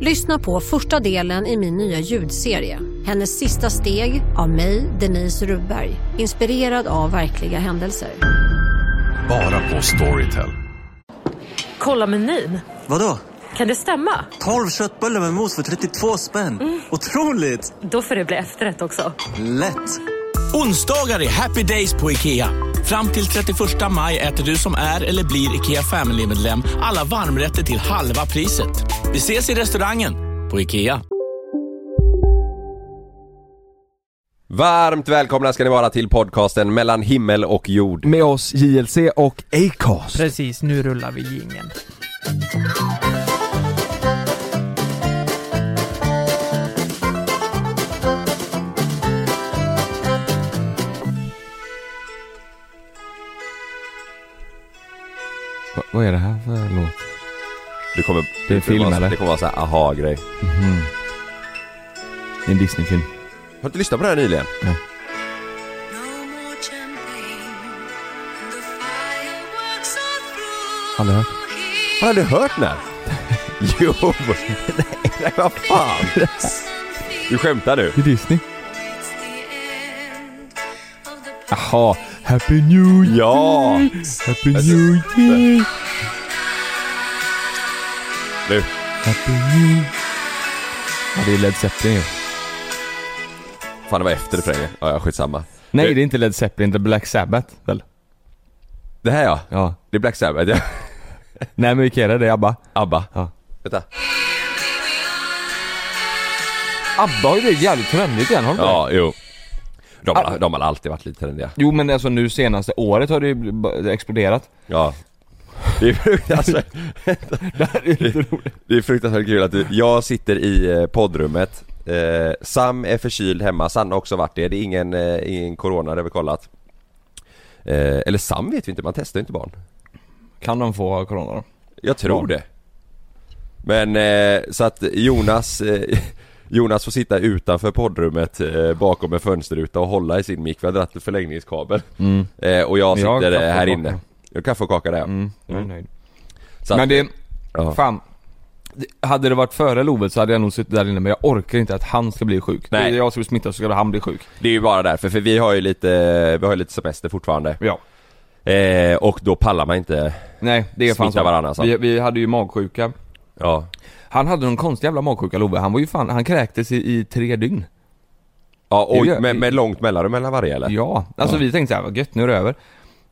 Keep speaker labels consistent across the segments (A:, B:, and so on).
A: Lyssna på första delen i min nya ljudserie. Hennes sista steg av mig, Denise Rubberg. Inspirerad av verkliga händelser.
B: Bara på Storytel.
C: Kolla menyn.
D: Vadå?
C: Kan det stämma?
D: 12 köttbullar med mos för 32 spänn. Otroligt!
C: Då får det bli efterrätt också.
D: Lätt!
E: Onsdagar är happy days på IKEA. Fram till 31 maj äter du som är eller blir IKEA Family-medlem alla varmrätter till halva priset. Vi ses i restaurangen på IKEA.
F: Varmt välkomna ska ni vara till podcasten mellan himmel och jord.
G: Med oss JLC och Acast.
H: Precis, nu rullar vi jingeln.
G: Va- vad är det här för låt?
F: Du kommer,
G: Det är film,
F: kommer vara,
G: eller?
F: det kommer vara så här aha-grej.
G: Det är En Disney-film.
F: Har du inte lyssnat på det här nyligen?
G: Aldrig hört.
F: Har du hört den här? Jo! Nej, nej, vad fan! Du skämtar nu?
G: Det är Disney. Jaha. Happy New Year!
F: Ja!
G: Happy New Year!
F: Nu.
G: Happy New Year! Ja, det är Led Zeppelin ju.
F: Fan, det var efter refrängen. Ja, ja, skitsamma.
G: Nej,
F: Det-
G: det är inte Led Zeppelin, det är Black Sabbath väl?
F: Det här ja.
G: Ja.
F: Det är Black Sabbath. Ja.
G: Nej men vilka är det? Det är ABBA.
F: ABBA.
G: Ja.
F: Vänta.
G: ABBA har ju blivit jävligt trendigt igen, har de inte det?
F: Ja, jo. De
G: Ah.
F: har, de har alltid varit lite trendiga.
G: Jo men alltså nu senaste året har det ju b- exploderat.
F: Ja. Det är fruktansvärt,
G: Det här är lite roligt.
F: det är fruktansvärt kul att du, jag sitter i eh, poddrummet. Eh, Sam är förkyld hemma, Sanna har också varit det. Det är ingen, eh, ingen corona, det har vi kollat. Eh, eller Sam vet vi inte, man testar ju inte barn.
G: Kan de få corona då?
F: Jag tror det. Men eh, så att Jonas, eh, Jonas får sitta utanför poddrummet eh, bakom en fönsterruta och hålla i sin mick. Vi har dragit en förlängningskabel. Eh, och jag
G: Mm. Men jag
F: sitter eh, här
G: har kaffe och kaka.
F: inne. Jag har kaffe och kaka där
G: Mm, jag är nöjd.
F: så att,
G: Men det,
F: ja.
G: fan. Det- Hade det varit före Lovet så hade jag nog suttit där inne men jag orkar inte att han ska bli sjuk.
F: Nej.
G: Det är jag som är smittad så ska han bli sjuk.
F: det är ju bara därför, för vi har ju lite, vi har ju lite semester fortfarande.
G: Ja.
F: Eh, och då pallar man inte.
G: Nej, det är fan
F: Smitta
G: så.
F: varandra, alltså.
G: vi, vi hade ju magsjuka.
F: Ja.
G: Han hade någon konstig jävla magsjuka Love, han var ju fan, han kräktes i, i tre dygn.
F: Ja,
G: Det
F: oj,
G: gör-
F: med, med långt mellanrum mellan varje eller?
G: Ja, alltså
F: Ja.
G: vi tänkte såhär, vad gött, nu är det över.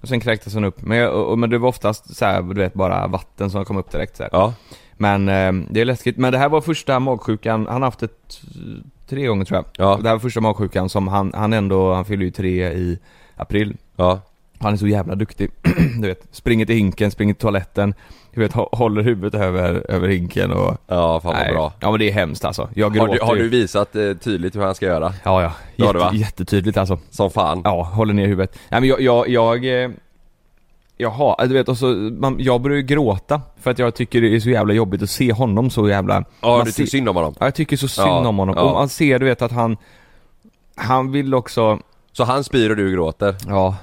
G: Och sen kräktes han upp, men, jag, och, och- men det var oftast såhär, du vet bara vatten som kom upp direkt så här.
F: Ja.
G: Men eh, det är läskigt, men det här var första magsjukan, han har haft det eh, tre gånger tror jag.
F: Ja.
G: Det här var första magsjukan som han, han ändå, han fyller ju tre i april.
F: Ja.
G: Han är så jävla duktig. du vet, springer till hinken, springer till toaletten. Du vet, hå- håller huvudet över, över hinken och...
F: Ja, fan vad bra.
G: Ja men det är hemskt alltså. Jag
F: Har
G: gråter
F: du, har
G: ju.
F: du visat eh, tydligt hur han ska göra?
G: Ja, ja.
F: Det har du, va?
G: Jätte, jättetydligt alltså.
F: Som fan.
G: Ja, håller ner huvudet. Nej men jag, jag, jag... eh, Jaha, du vet och så, man, jag börjar ju gråta för att jag tycker det är så jävla jobbigt att se honom så jävla...
F: Ja,
G: man
F: du
G: ser-
F: tycker synd om honom.
G: Ja, jag tycker så synd
F: Ja,
G: om honom.
F: ja.
G: Och man ser du vet att han... Han vill också...
F: Så han spyr och du gråter?
G: Ja.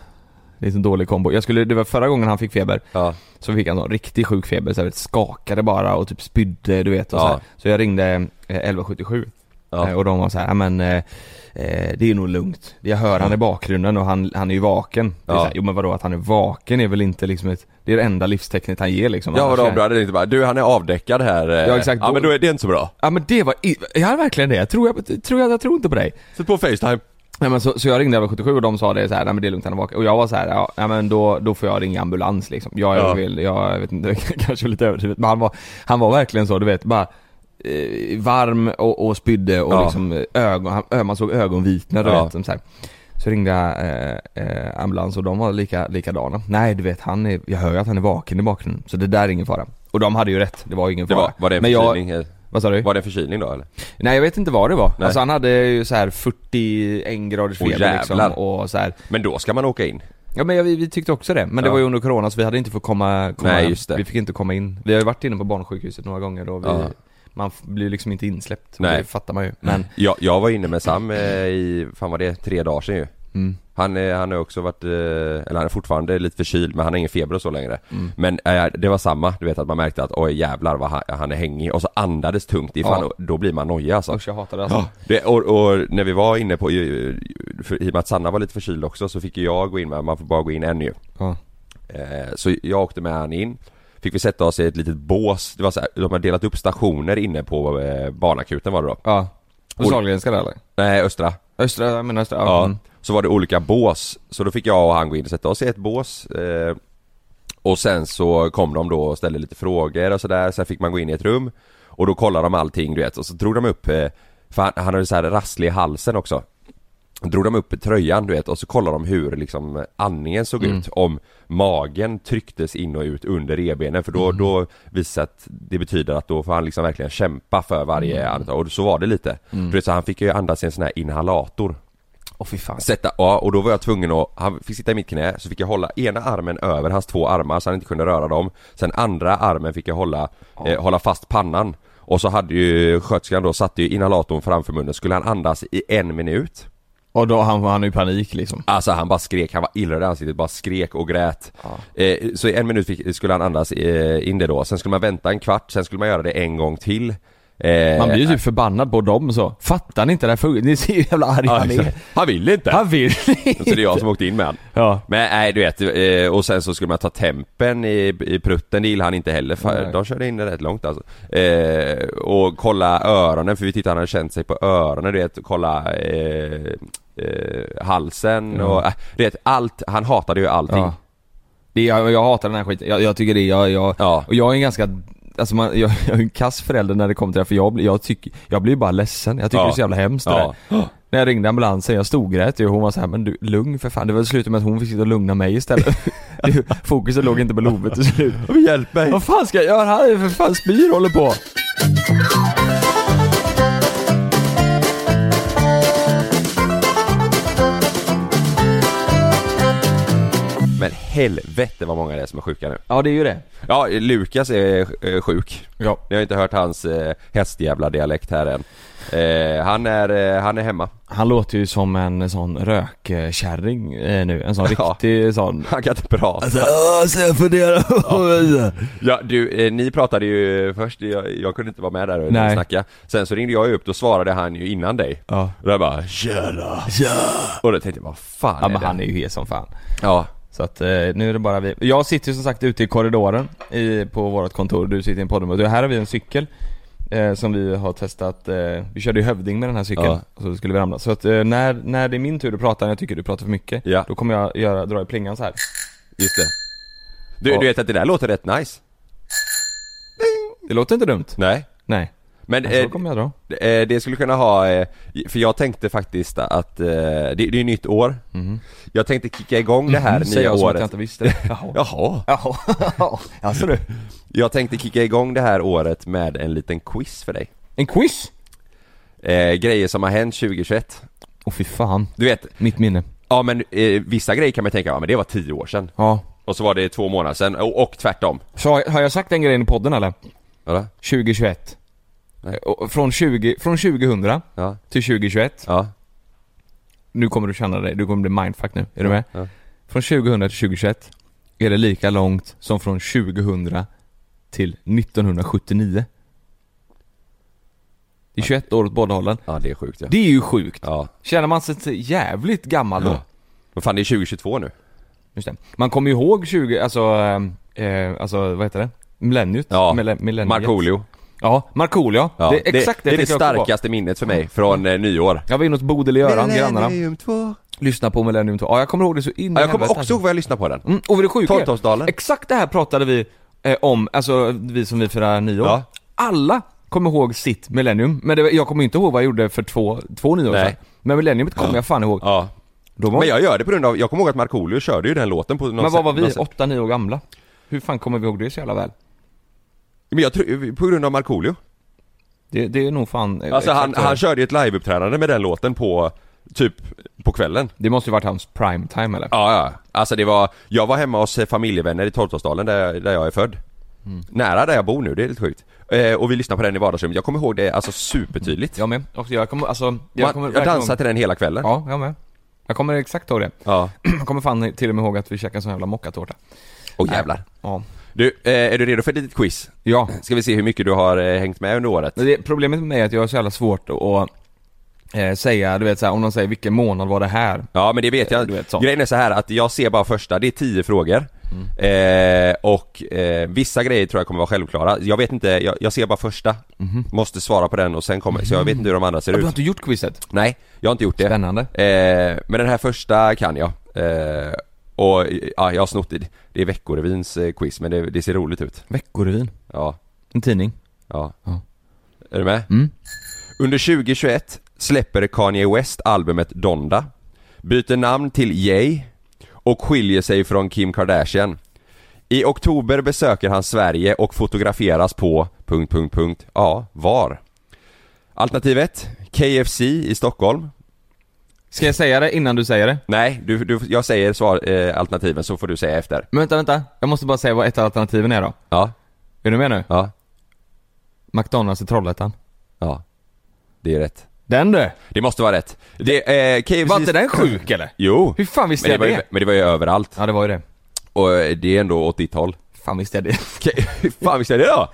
G: Det är en dålig kombo. Jag skulle, det var förra gången han fick feber.
F: Ja.
G: Så fick han någon riktig sjuk feber, så här, vet, skakade bara och typ spydde du vet och
F: Ja.
G: så, här. så jag ringde eh, 1177
F: Ja.
G: Eh, och de var så här, "Ja, men eh, eh, det är nog lugnt. Jag hör han i bakgrunden och han, han är ju vaken. Det är
F: Ja.
G: så här, jo men vadå att han är vaken är väl inte liksom ett, det är det enda livstecknet han ger liksom.
F: Ja
G: Annars
F: vadå
G: är-
F: då hade det inte bara, du han är avdäckad här. eh.
G: Ja, exakt.
F: Ja men då är det inte så bra.
G: Ja men det var, i- är han verkligen det? Tror jag, tror jag, jag tror inte på dig.
F: Sätt på Facetime.
G: Nej men så, så jag ringde 1177 och de sa det så här, nej men det är lugnt han är vaken. Och jag var så här, ja nej, men då, då får jag ringa ambulans liksom. Ja, jag
F: Ja.
G: vill, jag vet inte, kanske lite överdrivet. Men han var, han var verkligen så, du vet bara eh, varm och, och spydde och
F: Ja.
G: liksom eh, ögon, han, ö- man såg ögonvitna du
F: Ja.
G: vet. som Så, här. så ringde jag eh, eh, ambulans och de var lika, likadana. Nej du vet han är, jag hör ju att han är vaken i bakgrunden. Så det där är ingen fara. Och de hade ju rätt, det var ju ingen
F: Det
G: fara.
F: var, var det en
G: men jag,
F: förkylning? eh?
G: Vad sa du?
F: Var det en förkylning då eller?
G: Nej jag vet inte vad det var.
F: Nej.
G: Alltså han hade ju så här 41 graders
F: Åh,
G: feber liksom
F: jävlar.
G: och så här.
F: Men då ska man åka in.
G: Ja men jag, vi, vi tyckte också det, men det
F: Ja.
G: var ju under corona så vi hade inte fått komma, komma
F: Nej,
G: hem.
F: just det.
G: Vi fick inte komma in. Vi har ju varit inne på barnsjukhuset några gånger och vi,
F: Ja.
G: man f- blir liksom inte insläppt.
F: Nej. Mm.
G: Nej. Det fattar man ju. Men
F: Jag, jag var inne med Sam eh, i, fan var det, tre dagar sedan ju.
G: Mm.
F: Han, eh, han har också varit, eh, eller han är fortfarande lite förkyld men han har ingen feber och så längre.
G: Mm.
F: Men eh, det var samma, du vet att man märkte att oj jävlar vad han, han är hängig och så andades tungt ifall,
G: Ja.
F: då blir man nojig alltså.
G: usch jag hatar det alltså.
F: Det, och, och när vi var inne på, för, i och med att Sanna var lite förkyld också så fick ju jag gå in med, man får bara gå in en ju.
G: Ja.
F: Eh, Så jag åkte med han in Fick vi sätta oss i ett litet bås, det var så här, de har delat upp stationer inne på eh, barnakuten var det då?
G: Ja. Och
F: Och-
G: Sahlgrenska där eller?
F: Nej, Östra
G: Östra, jag menar östra.
F: Ja,
G: Ja. Mm.
F: så var det olika bås Så då fick jag och han gå in och sätta oss i ett bås eh, Och sen så kom de då och ställde lite frågor och sådär Sen fick man gå in i ett rum Och då kollade de allting du vet och så drog de upp eh, För han, han hade så här rasslig i halsen också Drog de upp tröjan du vet och så kollade de hur liksom andningen såg ut Om magen trycktes in och ut under revbenen för då, då visade att det betyder att då får han liksom verkligen kämpa för varje andetag och så var det lite För det, är så han fick ju andas i en sån här inhalator
G: Åh fy fan.
F: Sätta, ja och då var jag tvungen att, han fick sitta i mitt knä, så fick jag hålla ena armen över hans två armar så han inte kunde röra dem Sen andra armen fick jag hålla, eh, hålla fast pannan Och så hade ju sköterskan då, satte ju inhalatorn framför munnen, skulle han andas i en minut
G: Och då han, han är i panik liksom.
F: Alltså han bara skrek, han var illröd i ansiktet, bara skrek och grät eh, Så i en minut fick, skulle han andas eh, in det då, sen skulle man vänta en kvart, sen skulle man göra det en gång till Eh,
G: Man blir ju typ förbannad på dem så. Fattar ni inte det här fuggen? Ni ser ju hur jävla arg
F: ja,
G: han är.
F: exakt. Han vill inte!
G: Han vill
F: Så det är jag som åkte in med han.
G: Ja.
F: Men nej du vet, eh, och sen så skulle man ta tempen i, i prutten, det gillade han inte heller för
G: Nej.
F: de körde in det rätt långt alltså. eh, Och kolla öronen, för vi tittade han hade känt sig på öronen du vet, och kolla eh, eh, halsen och, äh, du vet allt, han hatade ju allting.
G: Ja. Typ. Det, jag, jag hatar den här skiten, jag, jag tycker det, jag, jag,
F: Ja.
G: och jag är en ganska Alltså man, jag, jag är en kass förälder när det kommer till det här, för jag, blir- jag, tycker, jag blir ju bara ledsen, jag tycker
F: Ja.
G: det är så jävla hemskt
F: Ja.
G: det där. När jag ringde ambulansen, jag storgrät ju och hon var så här, men du lugn för fan, det var slut med att hon fick sitta och lugna mig istället du, Fokuset låg inte på Love till slut
F: Hjälp mig!
G: Vad fan ska jag göra? Han är för fan spyr och håller på
F: Men helvete vad många det är som är sjuka nu.
G: Ja det är ju det
F: Ja, Lukas är eh, sjuk.
G: Ja,
F: Ni har inte hört hans eh, hästjävla dialekt här än. Eh, han, är, eh, han är hemma.
G: han låter ju som en sån rökkärring eh, nu, en sån
F: Ja.
G: riktig sån
F: Han kan inte prata.
G: så jag funderar på...
F: Ja, du, eh, ni pratade ju först, jag, jag kunde inte vara med där och
G: Nej.
F: snacka Sen så ringde jag ju upp, då svarade han ju innan dig
G: Ja.
F: Och jag bara 'Tjena' Och då tänkte jag, vad fan
G: Ja
F: är
G: men
F: det?
G: han är ju hes som fan
F: Ja,
G: Så att eh, nu är det bara vi. Jag sitter ju som sagt ute i korridoren i, på vårt kontor, du sitter i en poddmöte. Här har vi en cykel eh, som vi har testat. Eh, vi körde ju hövding med den här cykeln,
F: Ja.
G: så skulle vi ramla. Så att eh, när, när det är min tur att prata, när jag tycker du pratar för mycket,
F: Ja.
G: då kommer jag göra, dra i plingan så här.
F: just det du,
G: Ja.
F: du vet att det där låter rätt nice?
G: Det låter inte dumt.
F: Nej
G: Nej.
F: Men
G: Så
F: eh,
G: kommer jag dra.
F: eh, det skulle kunna ha, eh, för jag tänkte faktiskt att, eh, det, det är ju nytt år Jag tänkte kicka igång det här
G: Säger
F: nya
G: Mhm. jag som att
F: året
G: jag inte visste. Jaha.
F: Jaha,
G: Jaha. alltså du.
F: jag tänkte kicka igång det här året med en liten quiz för dig
G: En quiz?
F: eh, Grejer som har hänt 2021
G: Åh fy fan.
F: Du vet,
G: Mitt minne.
F: Ja men eh, vissa grejer kan man tänka, ja men det var tio år sedan
G: Ja.
F: Och så var det två månader sedan, och, och tvärtom
G: Så har har jag sagt den grejen i podden eller?
F: Vadå?
G: 2021.
F: Nej.
G: Och Från, 20, från 2000
F: Ja,
G: till 2021.
F: ja,
G: Nu kommer du känna dig, du kommer bli mindfuck nu. Är du med?
F: ja.
G: Från 2000 till 2021 är det lika långt som från 2000 till 1979. Det är 21 år åt båda hållen.
F: ja det är sjukt ja
G: Det är ju sjukt.
F: Ja,
G: Känner man sig jävligt gammal då?
F: Ja. men fan det är 2022 nu
G: Just det. Man kommer ju ihåg 20, alltså, eh, eh, alltså vad heter det? Millenniet?
F: Ja,
G: Mille- millenniet.
F: Markoolio
G: Ja, Markoolio.
F: ja.
G: Det är exakt det,
F: Det, är det
G: tänker jag också på. Mm.
F: starkaste minnet för mig från eh, nyår
G: Jag var inne hos Bodil i Göran, grannarna.
F: 2
G: Lyssna på Millennium 2. Ja, jag kommer ihåg det så in
F: ja,
G: i alltså.
F: Jag kommer
G: helvete,
F: också ihåg vad jag lyssnade på den
G: Mm, och vad det sjuka är,
F: Torrtorpsdalen.
G: Exakt det här pratade vi eh, om, alltså vi som vi firar nyår.
F: Ja.
G: Alla kommer ihåg sitt millennium, men det, var- jag kommer inte ihåg vad jag gjorde för två, två nyår
F: Nej.
G: sedan. Men millenniumet kommer jag fan ihåg.
F: Ja
G: De var,
F: Men jag gör det på grund av, jag kommer ihåg att Markoolio körde ju den låten på någon
G: men vad var vi?
F: någon sätt.
G: Åtta, nio år gamla? Hur fan kommer vi ihåg det så jävla väl?
F: Men jag tror, på grund av Markoolio
G: Det, det är nog fan... eh,
F: Alltså han,
G: exakt vad-
F: han körde ju ett liveuppträdande med den låten på, typ, på kvällen
G: Det måste ju varit hans primetime eller?
F: Ja, ja. Alltså det var, jag var hemma hos eh, familjevänner i Torpsdalen där, jag- där jag är född.
G: Mm.
F: Nära där jag bor nu, det är lite sjukt. Eh, och vi lyssnade på den i vardagsrummet, jag kommer ihåg det alltså supertydligt.
G: Jag med. Och jag kommer, alltså...
F: Jag,
G: kommer
F: Man, jag
G: verkligen
F: dansade till den hela kvällen.
G: ihåg- Ja, jag med. Jag kommer exakt ihåg det.
F: Ja.
G: Jag kommer fan till och med ihåg att vi käkade en sån jävla mockatårta.
F: Och jävlar.
G: Ja.
F: Du, eh, är du redo för ett litet quiz?
G: Ja.
F: Ska vi se hur mycket du har eh, hängt med under året?
G: Men Det, problemet med mig är att jag har så jävla svårt att eh, säga, du vet så här, om någon säger vilken månad var det här?
F: Ja men det vet jag.
G: Eh, Du vet, Mm. sånt.
F: Grejen är så här att jag ser bara första, det är tio frågor. Eh, och eh, vissa grejer tror jag kommer vara självklara. Jag vet inte, jag, jag ser bara första.
G: Mhm.
F: Måste svara på den och sen kommer, så jag vet inte hur de andra ser
G: Du
F: ut.
G: har inte gjort quizet?
F: Nej, jag har inte gjort det.
G: Spännande.
F: Eh, men den här första kan jag. Eh, och eh, ja, jag har snott det. Det är Veckorevyns eh, quiz, men det, det ser roligt ut.
G: Veckorevyn.
F: Ja,
G: En tidning.
F: ja.
G: Ja.
F: Är du med?
G: Mm.
F: Under 2021 släpper Kanye West albumet Donda, byter namn till Ye och skiljer sig från Kim Kardashian. I oktober besöker han Sverige och fotograferas på... Punkt, punkt, punkt. Ja, var? Alternativ 1. KFC i Stockholm.
G: Ska jag säga det innan du säger det?
F: Nej, du, du, jag säger svar, eh, alternativen så får du säga efter.
G: Men vänta, vänta. Jag måste bara säga vad ett av alternativen är då.
F: Ja,
G: Är du med nu?
F: ja,
G: McDonalds i Trollhättan.
F: ja. Det är rätt.
G: Den du!
F: Det måste vara rätt. Det, eh, KFC...
G: Var inte den sjuk eller?
F: Jo.
G: Hur fan visste
F: men det,
G: jag
F: var ju,
G: det?
F: men det var ju överallt.
G: Ja det var ju det.
F: Och eh, det är ändå åt ditt håll.
G: Fan visste jag det.
F: K- fan visst är det då?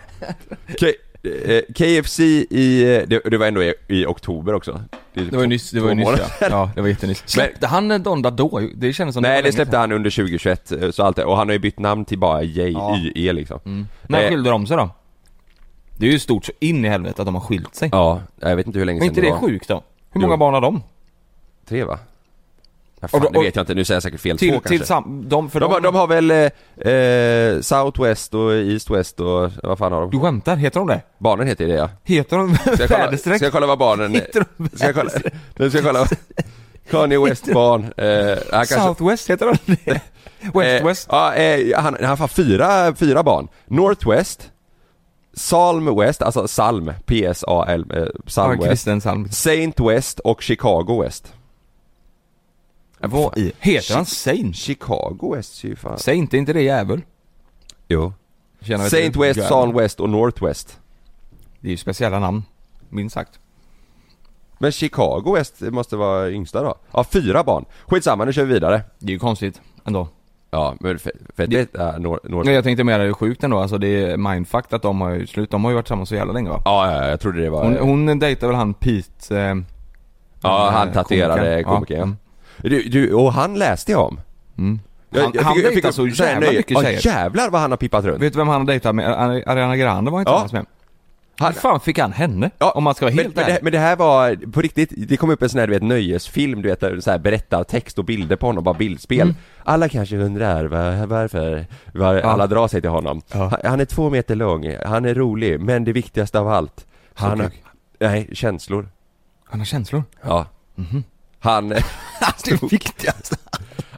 F: K- eh, KFC i... eh, Det, det var ändå i, i oktober också. är
G: Det var ju
F: två-
G: nyss, det var
F: två
G: ju nyss
F: månader
G: ja.
F: sedan.
G: ja. det var jättenyss. Släppte han en Donda då? Det kändes som
F: Nej
G: var
F: det
G: länge
F: släppte
G: sedan.
F: han under 2021, eh, så allt det, och han har ju bytt namn till bara J, Y, E liksom.
G: När
F: Eh,
G: skilde de sig då? Det är ju stort så in i helvete att de har skilt sig.
F: Ja, jag vet inte hur länge
G: Men
F: sedan
G: inte
F: det
G: det
F: var.
G: sjukt då? Hur
F: Jo.
G: många barn har de?
F: Tre va? Ja, fan,
G: Och då-
F: det
G: och-
F: vet jag inte, nu säger jag säkert fel. Två
G: Till,
F: kanske.
G: till sam, de, för
F: de, har- de har väl eh, eh, South West och East West och vad fan har de?
G: Du skämtar? Heter de det?
F: Barnen heter ju det ja.
G: Heter de
F: Ska jag kolla, ska
G: väderstreck?
F: jag kolla vad barnen...
G: Heter de
F: Ska jag kolla? Nu ska jag kolla. Kanye West barn. Eh, han kanske...
G: Southwest, heter de det? West
F: eh,
G: West?
F: Ja, eh, han, han har fan fyra, fyra barn. Northwest, Salm West, alltså Salm, P-S-A-L, eh, Salm
G: Ja,
F: West.
G: Kristen Salm.
F: Saint West och Chicago West.
G: Vad i... Heter han Saint?
F: Chicago West ser ju fan...
G: Saint, är inte det jävel?
F: Jo.
G: Tjena, vet
F: Saint
G: du,
F: West,
G: jävel.
F: San West och Northwest.
G: Det är ju speciella namn, minst sagt.
F: Men Chicago West måste vara yngsta då? Ja, fyra barn. Skitsamma, nu kör vi vidare.
G: Det är ju konstigt ändå.
F: Ja, men för, för att det är North... North...
G: Nej, Jag tänkte mer det är sjukt ändå, alltså det är mindfucked att de har ju slut, de har ju varit tillsammans så jävla länge va?
F: Ja, ja, jag trodde det var...
G: Hon, hon dejtar väl han Pete... Eh,
F: ja,
G: eh,
F: han tatuerade komikern, ja.
G: Mm.
F: Du, du, och han läste jag om. Jag,
G: Han- han dejtar så
F: här
G: jävla
F: nöje.
G: mycket
F: Ja,
G: tjejer.
F: jävlar vad han har pippat runt.
G: Vet du vem han har dejtat med? Ari- Ariana Grande var han tillsammans med.
F: Han,
G: Hur fan fick han henne?
F: ja,
G: om man ska vara
F: men,
G: helt
F: men, det,
G: ärlig.
F: men det här var, på riktigt, det kom upp en sån här du vet nöjesfilm, du vet, där så här berättar text och bilder på honom, bara bildspel.
G: Mm.
F: Alla kanske undrar va- varför, var, alla drar sig till honom. Han, han är två meter lång, han är rolig, men det viktigaste av allt, han har,
G: Sophie.
F: nej, känslor.
G: Han har känslor.
F: Ja.
G: Mhm.
F: Han... det viktigaste.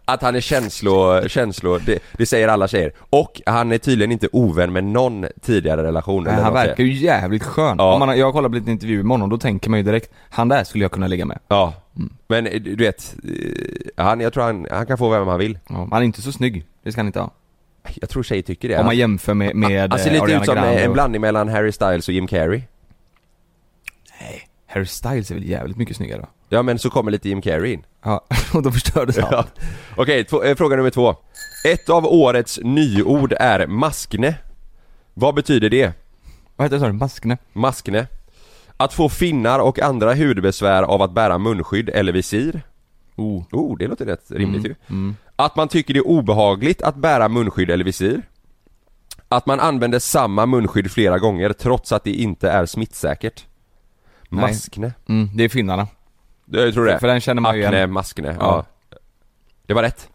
F: Att han är känslo, känslo det, det säger alla tjejer. Och han är tydligen inte ovän med någon tidigare relation.
G: Nej,
F: eller
G: han
F: något
G: verkar ju jävligt skön.
F: Ja.
G: Om man, har- jag har kollat på lite intervjuer med honom, då tänker man ju direkt, han där skulle jag kunna ligga med.
F: Ja. Men eh, du vet, eh, han, jag tror han, han kan få vem han vill.
G: Ja. Han är inte så snygg, det ska han inte ha.
F: Jag tror tjejer tycker det.
G: Om man
F: Han-
G: jämför med, med
F: han ser
G: eh,
F: lite
G: Ariana
F: ut som
G: Grande
F: eh, en
G: och-
F: blandning mellan Harry Styles och Jim Carrey.
G: Harry Styles är väl jävligt mycket snyggare då?
F: Ja men så kommer lite Jim Carrey in.
G: Ja, och då förstördes allt.
F: Ja. Okej, två- eh, fråga nummer två. Ett av årets nyord är maskne. Vad betyder det?
G: Vad heter det sa du? Maskne?
F: Maskne. Att få finnar och andra hudbesvär av att bära munskydd eller visir.
G: Oh. Mm,
F: Oh, det låter rätt rimligt ju. Att man tycker det är obehagligt att bära munskydd eller visir. Att man använder samma munskydd flera gånger trots att det inte är smittsäkert. Maskne.
G: Mm, det är finnarna.
F: Jag tror det.
G: För den känner man ju igen.
F: Akne, maskne. Ja.
G: Ja.
F: Det var rätt.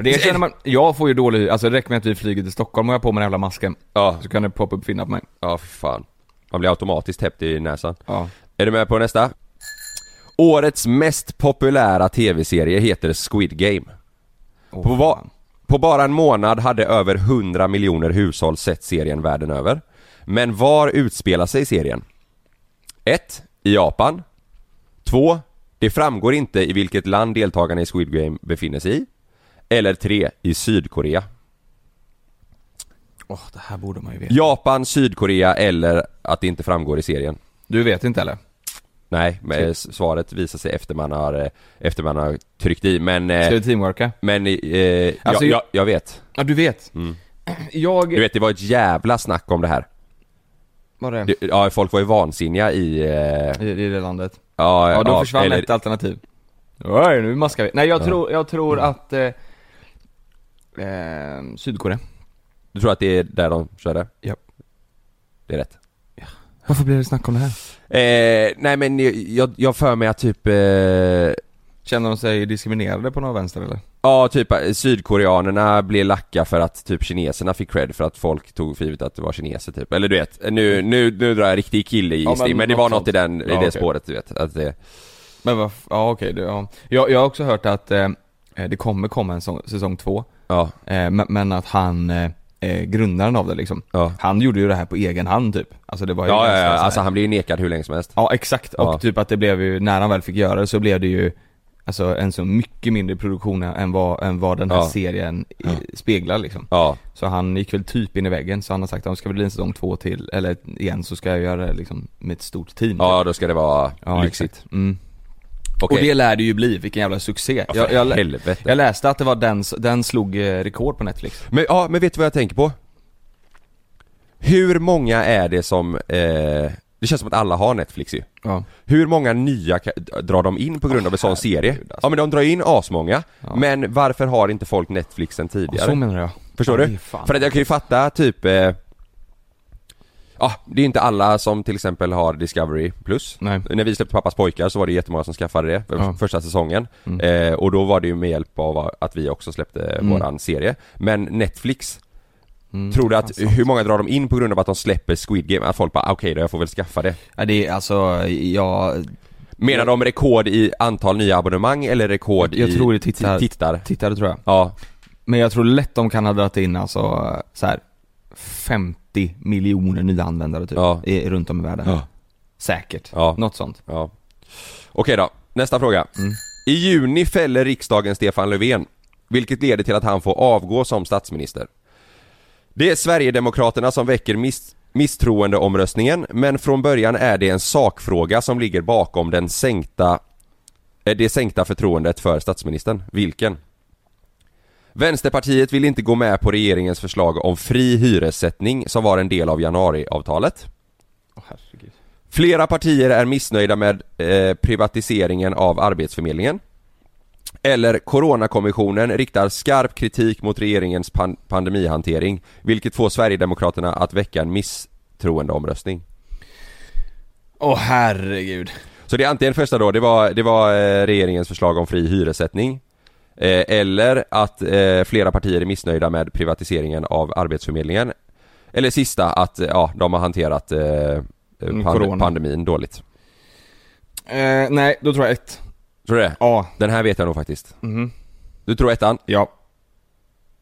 G: Det känner man, jag får ju dålig alltså det räcker med att vi flyger till Stockholm och jag har på mig den jävla masken.
F: Ja,
G: Så kan det poppa upp finnar på mig.
F: ja för fan. Man blir automatiskt täppt i näsan.
G: Ja.
F: Är du med på nästa? Årets mest populära tv-serie heter Squid Game. På, va- på bara en månad hade över 100 miljoner hushåll sett serien världen över. Men var utspelar sig serien? 1. I Japan 2. Det framgår inte i vilket land deltagarna i Squid Game befinner sig i Eller 3. I Sydkorea
G: Åh, det här borde man ju veta.
F: Japan, Sydkorea eller att det inte framgår i serien
G: Du vet inte eller?
F: Nej, men eh, s- svaret visar sig efter man har, eh, efter man har tryckt i men, eh,
G: Ska du teamworka?
F: men eh,
G: Alltså,
F: jag,
G: jag-
F: jag, jag vet
G: Ja, du vet. Jag...
F: Du vet, det var ett jävla snack om det här.
G: Var det?
F: Det- Ja, folk var ju vansinniga i... eh,
G: I, I det landet.
F: ja,
G: Ja, då
F: ja,
G: försvann
F: eller-
G: ett alternativ. Oj, nu maskar vi. Nej, jag, tror, jag tror att... Eh, eh, Sydkorea.
F: Du tror att det är där de körde?
G: Ja.
F: Det är rätt.
G: Varför blir det snack om det här?
F: Eh, nej men jag- jag, jag för mig att typ... Eh,
G: Känner de sig diskriminerade på någon vänster eller?
F: ja, typ eh, sydkoreanerna blev lacka för att typ kineserna fick cred för att folk tog för givet att det var kineser typ. Eller du vet, nu, nu, nu drar jag riktig kille
G: Ja, men
F: men, men det var
G: något
F: något i, den, i
G: Ja,
F: det
G: okej.
F: spåret du vet. Att det,
G: Men vad, f- ja okej, det- ja. jag, jag har också hört att eh, det kommer komma en sång, säsong två,
F: ja,
G: eh, men, men att han, eh, eh, grundaren av det liksom,
F: Ja.
G: han gjorde ju det här på egen hand typ. Alltså det var ju
F: ja, ja,
G: ganska
F: ja,
G: så här-
F: alltså han blev ju nekad hur länge som helst.
G: Ja exakt, och
F: Ja.
G: typ att det blev ju, när han väl fick göra det så blev det ju Alltså en så mycket mindre produktion än vad, än vad den här
F: Ja.
G: serien i, speglar liksom.
F: Ja,
G: Så han gick väl typ in i väggen, så han har sagt att om det ska bli en säsong två till, eller igen, så ska jag göra det liksom med ett stort team.
F: ja då ska det vara
G: Ja,
F: lyxigt.
G: exakt. Mm.
F: Okej.
G: Och det lär det ju bli, vilken jävla succé.
F: Ja, för
G: jag, lä-
F: helvete.
G: jag läste att det var den, s- den slog eh, rekord på Netflix.
F: Men, ja, men vet du vad jag tänker på? Hur många är det som, eh, det känns som att alla har Netflix ju
G: Ja.
F: Hur många nya ka- drar de in på grund av en sån serie?
G: alltså.
F: Ja men de drar in asmånga, men varför har inte folk Netflix sen
G: Och
F: tidigare?
G: så menar jag.
F: Förstår
G: Ja, det
F: du?
G: är fan.
F: För att jag kan ju fatta typ eh, Ja, det är inte alla som till exempel har Discovery plus.
G: Nej.
F: När vi släppte Pappas pojkar så var det jättemånga som skaffade det för
G: Ja. Mm.
F: första säsongen. Eh, och då var det ju med hjälp av att vi också släppte våran serie. Men Netflix,
G: Mm,
F: tror du att, hur många drar de in på grund av att de släpper Squid Game? Att folk bara "Ah, okej då, jag får väl skaffa det.
G: Ja, det är alltså, jag
F: Menar de rekord i antal nya abonnemang eller rekord
G: Jag
F: i
G: tror det tittar-
F: ti- tittar?
G: tittade tror jag.
F: Ja,
G: Men jag tror lätt de kan ha dragit in alltså så här 50 miljoner nya användare typ,
F: Ja.
G: i, runt om i världen.
F: Ja.
G: Säkert.
F: Ja.
G: Något sånt.
F: Ja. Okej då, nästa fråga. I juni fäller riksdagen Stefan Löfven, vilket leder till att han får avgå som statsminister. Det är Sverigedemokraterna som väcker miss misstroendeomröstningen, men från början är det en sakfråga som ligger bakom den sänkta, eh, det sänkta förtroendet för statsministern. Vilken? Vänsterpartiet vill inte gå med på regeringens förslag om fri hyressättning som var en del av januariavtalet. Flera partier är missnöjda med eh, privatiseringen av Arbetsförmedlingen. Eller Coronakommissionen riktar skarp kritik mot regeringens pan- pandemihantering, vilket får Sverigedemokraterna att väcka en misstroendeomröstning.
G: Åh herregud.
F: Så det är antingen första då, det var, det var eh, regeringens förslag om fri hyressättning. Eh, eller att eh, flera partier är missnöjda med privatiseringen av Arbetsförmedlingen. Eller sista, att eh, ja, de har hanterat eh, pand-
G: corona.
F: pandemin dåligt.
G: Eh, nej, då tror jag ett.
F: Tror du det?
G: Ja.
F: Den här vet jag nog faktiskt.
G: Mhm.
F: Du tror ettan?
G: Ja.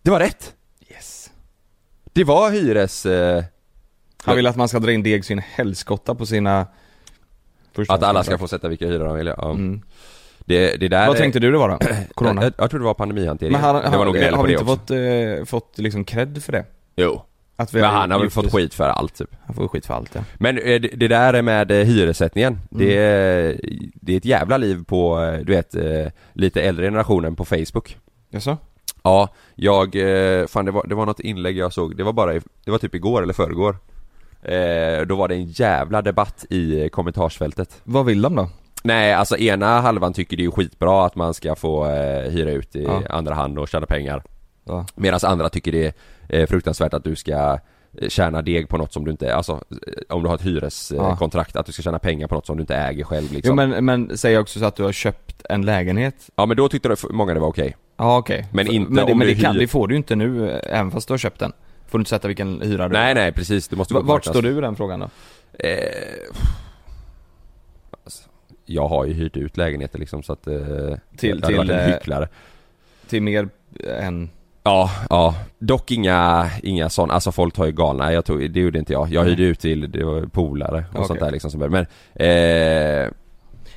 F: Det var rätt!
G: Yes.
F: Det var hyres... Eh,
G: Han vill att man ska dra in deg sin helskotta på sina... första-
F: att alla ska få sätta vilka hyror de vill. Ja. Det, det där...
G: Mm. Vad tänkte du det var då? Corona?
F: Jag, jag tror det var pandemihantering.
G: Men han, han,
F: det var nog gnäll
G: har
F: på
G: vi
F: det
G: inte
F: också.
G: fått, eh, fått liksom cred för det?
F: Jo.
G: Att
F: Men han har väl
G: gjort
F: fått
G: det-
F: skit för allt typ.
G: Han får skit för allt ja.
F: Men eh, det det där med eh, hyressättningen, det,
G: Mm.
F: det är ett jävla liv på, eh, du vet, eh, lite äldre generationen på Facebook.
G: Jaså?
F: Ja, jag, eh, fan det var, det var något inlägg jag såg, det var bara, i- det var typ igår eller förrgår eh, Då var det en jävla debatt i eh, kommentarsfältet
G: Vad vill de då?
F: Nej, alltså ena halvan tycker det är skitbra att man ska få eh, hyra ut i
G: Ja.
F: andra hand och tjäna pengar
G: Ja.
F: Medan andra tycker det är eh, fruktansvärt att du ska eh, tjäna deg på något som du inte, alltså eh, om du har ett
G: Ja.
F: hyreskontrakt, kontrakt att du ska tjäna pengar på något som du inte äger själv liksom.
G: Jo men, men säg också så att du har köpt en lägenhet.
F: Ja men då tyckte det- många det var okej.
G: Ja okej.
F: Men
G: För-
F: inte
G: men, det-
F: om
G: men
F: du
G: det, kan,
F: hyr-
G: det får du ju inte nu, eh, även fast du har köpt den. Får du inte sätta vilken hyra du
F: Nej nej precis, du måste
G: V-
F: gå på
G: Vart
F: marknads-
G: står du i den frågan då?
F: Eh, alltså, jag har ju hyrt ut lägenheter liksom så att eh,
G: Till-
F: det hade varit
G: till,
F: en
G: eh,
F: hycklare.
G: Till mer än
F: Ja, ja. Dock inga, inga sådana, alltså folk tar ju galna, jag tog, det gjorde inte jag. Jag hyrde ut till det var polare och
G: Mm. Okej.
F: sånt där liksom som började. Men, eh,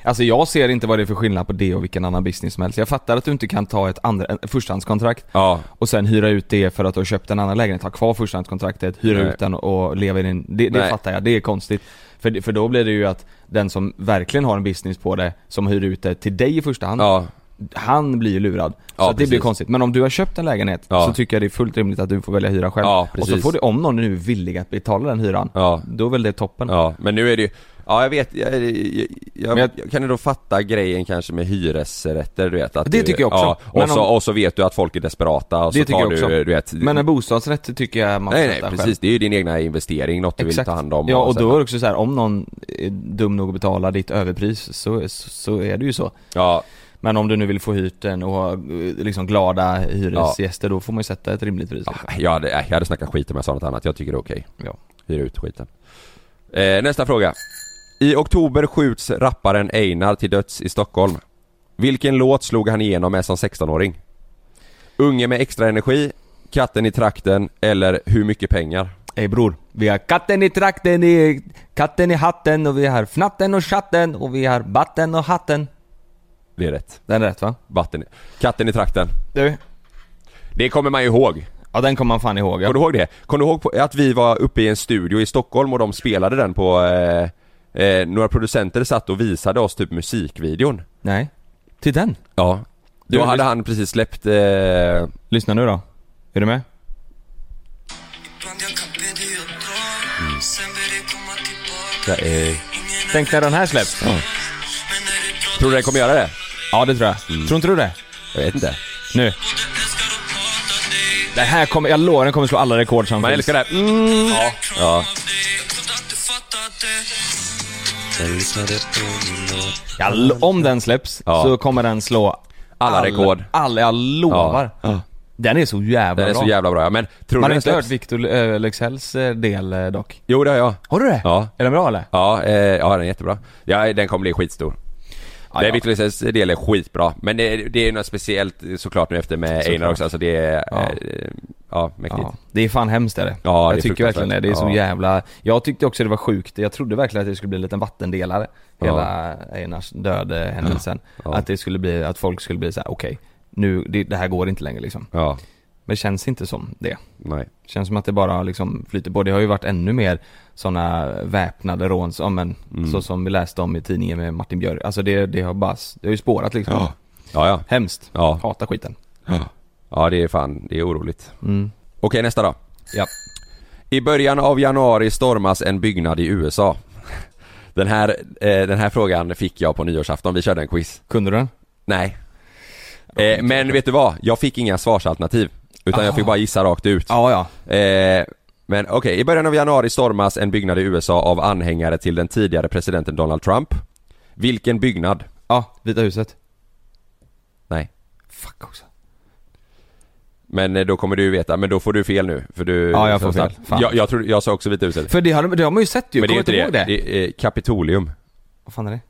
G: Alltså jag ser inte vad det är för skillnad på det och vilken annan business som helst. Jag fattar att du inte kan ta ett andra, en förstahandskontrakt
F: ja.
G: och sen hyra ut det för att du har köpt en annan lägenhet, ha kvar förstahandskontraktet, hyra
F: Nej.
G: ut den och leva i din... Det, det
F: Nej.
G: fattar jag, det är konstigt. För, för då blir det ju att den som verkligen har en business på det, som hyr ut det till dig i första hand,
F: Ja,
G: han blir ju lurad.
F: Ja,
G: så att det blir
F: precis.
G: konstigt. Men om du har köpt en lägenhet
F: Ja.
G: så tycker jag det är fullt rimligt att du får välja hyra själv.
F: Ja,
G: och så
F: precis.
G: får du, om någon nu är villig att betala den hyran,
F: Ja.
G: då är väl det toppen.
F: ja. Men nu är det ju, ja jag vet, jag, jag, jag,
G: Men jag-
F: jag kan ändå fatta grejen kanske med hyresrätter du vet. Att
G: Det
F: du-
G: tycker jag också.
F: Ja, och,
G: Men
F: så,
G: om-
F: och så vet du att folk är desperata och
G: Det
F: så
G: tycker jag
F: tar
G: också.
F: du, du vet.
G: Men en bostadsrätt tycker jag man
F: nej
G: får
F: nej
G: sätta
F: precis,
G: själv.
F: det är ju din egna investering, något du vill ta hand om.
G: Ja och
F: sen-
G: då är det också så här, om någon är dum nog att betala ditt överpris så, så är det ju så.
F: Ja,
G: Men om du nu vill få hyrt den och ha eh, liksom glada hyresgäster då får man ju sätta ett rimligt pris. liksom.
F: jag hade, jag hade snackat skit om jag sa något annat, jag tycker det är okej.
G: Ja.
F: Hyra ut skiten. Eh, nästa fråga. I oktober skjuts rapparen Einar till döds i Stockholm. Vilken låt slog han igenom med som 16-åring? Unge med extra energi, Katten i trakten eller Hur mycket pengar?
G: Ey bror, vi har katten i trakten, i, katten i hatten och vi har fnatten och chatten och vi har batten och hatten.
F: Det är rätt.
G: Den är rätt va?
F: Vatten. Katten i trakten.
G: Du?
F: Det kommer man ju ihåg.
G: Ja den kommer man fan ihåg ja.
F: Kommer du ihåg det? Kommer du ihåg på- att vi var uppe i en studio i Stockholm och de spelade den på... Eh, eh, några producenter satt och visade oss typ musikvideon.
G: Nej. Till den.
F: Ja.
G: Du,
F: Då hade
G: visst-
F: han precis släppt... Eh,
G: Lyssna nu då. Är du med? Tänk när den här släpps.
F: tror du den kommer göra det?
G: Ja det tror jag.
F: Mm.
G: Tror inte du det?
F: Jag vet inte.
G: Nu. Det här kommer, jag lovar den kommer slå alla rekord som
F: Man
G: finns.
F: älskar det här. Mm. Ja. ja.
G: Jag lo- om den släpps
F: Ja.
G: så kommer den slå
F: Alla rekord.
G: Alla, jag lovar.
F: Ja.
G: Den är så jävla
F: Den är
G: bra.
F: så jävla bra. ja. Men tror
G: Man
F: du
G: har
F: den
G: inte hört
F: släpps?
G: Victor eh, Leksells eh, del eh, dock.
F: Jo, det har jag.
G: Har du det?
F: Ja.
G: Är den bra eller?
F: Ja, eh, ja den är jättebra. Ja, den kommer bli skitstor.
G: Ja,
F: det
G: ja.
F: är Victor Lisses del är skitbra. Men det, det är något speciellt såklart nu efter med Einar också. Alltså det är...
G: Ja.
F: Ja, eh, ja mäktigt.
G: Ja, det är fan hemskt är det.
F: Ja, det är
G: jag tycker
F: fruktansvärt.
G: verkligen det. Det är så
F: Ja.
G: jävla... Jag tyckte också det var sjukt. Jag trodde verkligen att det skulle bli en liten vattendelare. Hela Einars död-händelsen.
F: Ja.
G: Att det skulle bli, att folk skulle bli så här: okej, nu, det, det här går inte längre liksom.
F: Ja,
G: Men det känns inte som det.
F: nej.
G: Känns som att det bara liksom flyter på. Det har ju varit ännu mer sådana väpnade rån, som, men,
F: Mm.
G: så som vi läste om i tidningen med Martin Björk. Alltså det, det har bara, det har ju spårat liksom.
F: Ja, ja.
G: Hemskt.
F: Ja.
G: Hatar skiten.
F: Ja, det är fan, det är oroligt.
G: Mm.
F: Okej, nästa då.
G: Ja.
F: I början av januari stormas en byggnad i USA. Den här, eh, den här frågan fick jag på nyårsafton, vi körde en quiz.
G: Kunde du den?
F: Nej. Eh, men vet du vad? Jag fick inga svarsalternativ. Utan jag fick bara gissa rakt ut.
G: Ah. Ja, ja.
F: Eh, men okej, i början av januari stormas en byggnad i USA av anhängare till den tidigare presidenten Donald Trump. Vilken byggnad?
G: Ja, Vita huset.
F: Nej.
G: Fuck också.
F: Men eh, då kommer du ju veta, men då får du fel nu. För du,
G: Ja, jag får
F: för-
G: fel. Fan.
F: Jag, jag, tror, jag sa också Vita huset.
G: För det har, de- det har man ju sett ju,
F: Men det är
G: kommer
F: inte
G: inte
F: det.
G: ihåg det?
F: det är, eh, Kapitolium.
G: Vad fan är det?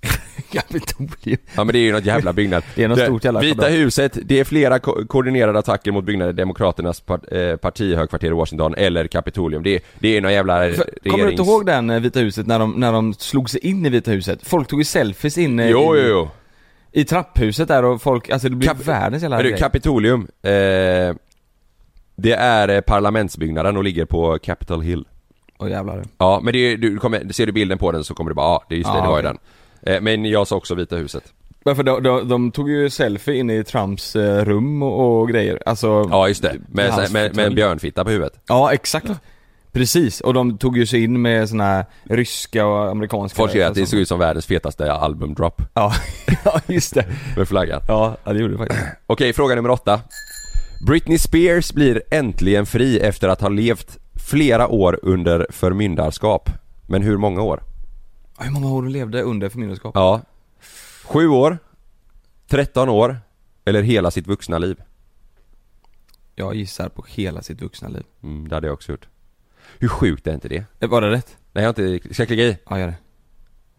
G: Kapitolium.
F: Ja men det är ju något jävla byggnad.
G: Det är något stort jävla
F: Vita
G: kvadrat.
F: huset, det är flera ko- koordinerade attacker mot byggnader Demokraternas part, eh, partihögkvarter i Washington eller Kapitolium. Det, är- det är någon jävla
G: För-
F: Eh, regerings...
G: Kommer du inte ihåg den eh, Vita huset när de, när de slog sig in i Vita huset? Folk tog ju selfies inne
F: Jo,
G: i,
F: jo, jo.
G: i trapphuset där och folk, alltså det blev
F: Kap-
G: världens jävla
F: Men du,
G: grej.
F: Kapitolium. Eh, det är eh, parlamentsbyggnaden och ligger på Capitol Hill.
G: Åh jävlar.
F: Ja, men det är, du kommer, ser du bilden på den så kommer du bara, ja, det är just det,
G: Ja,
F: det var ju
G: okej.
F: den. Eh, men jag sa också Vita huset.
G: Men för de, de, de tog ju selfie inne i Trumps eh, rum och, och grejer, alltså
F: Ja, just det. Med, med,
G: Hans
F: med en
G: fåtölj.
F: björnfitta på huvudet.
G: Ja, exakt. Precis, och de tog ju sig in med såna här ryska och amerikanska
F: Folk säger att det
G: alltså.
F: såg ut som världens fetaste albumdrop
G: Ja, ja just det.
F: med flaggan.
G: Ja, ja, det gjorde det faktiskt.
F: Okej, fråga nummer åtta. Britney Spears blir äntligen fri efter att ha levt flera år under förmyndarskap. Men hur många år?
G: Hur många år hon levde under förmyndarskap?
F: Ja. Sju år, 13 år eller hela sitt vuxna liv?
G: Jag gissar på hela sitt vuxna liv.
F: Mm, det hade jag också gjort. Hur sjukt är inte det?
G: Eh, Var det rätt?
F: Nej, jag har inte... Ska jag klicka i?
G: Ja, gör det.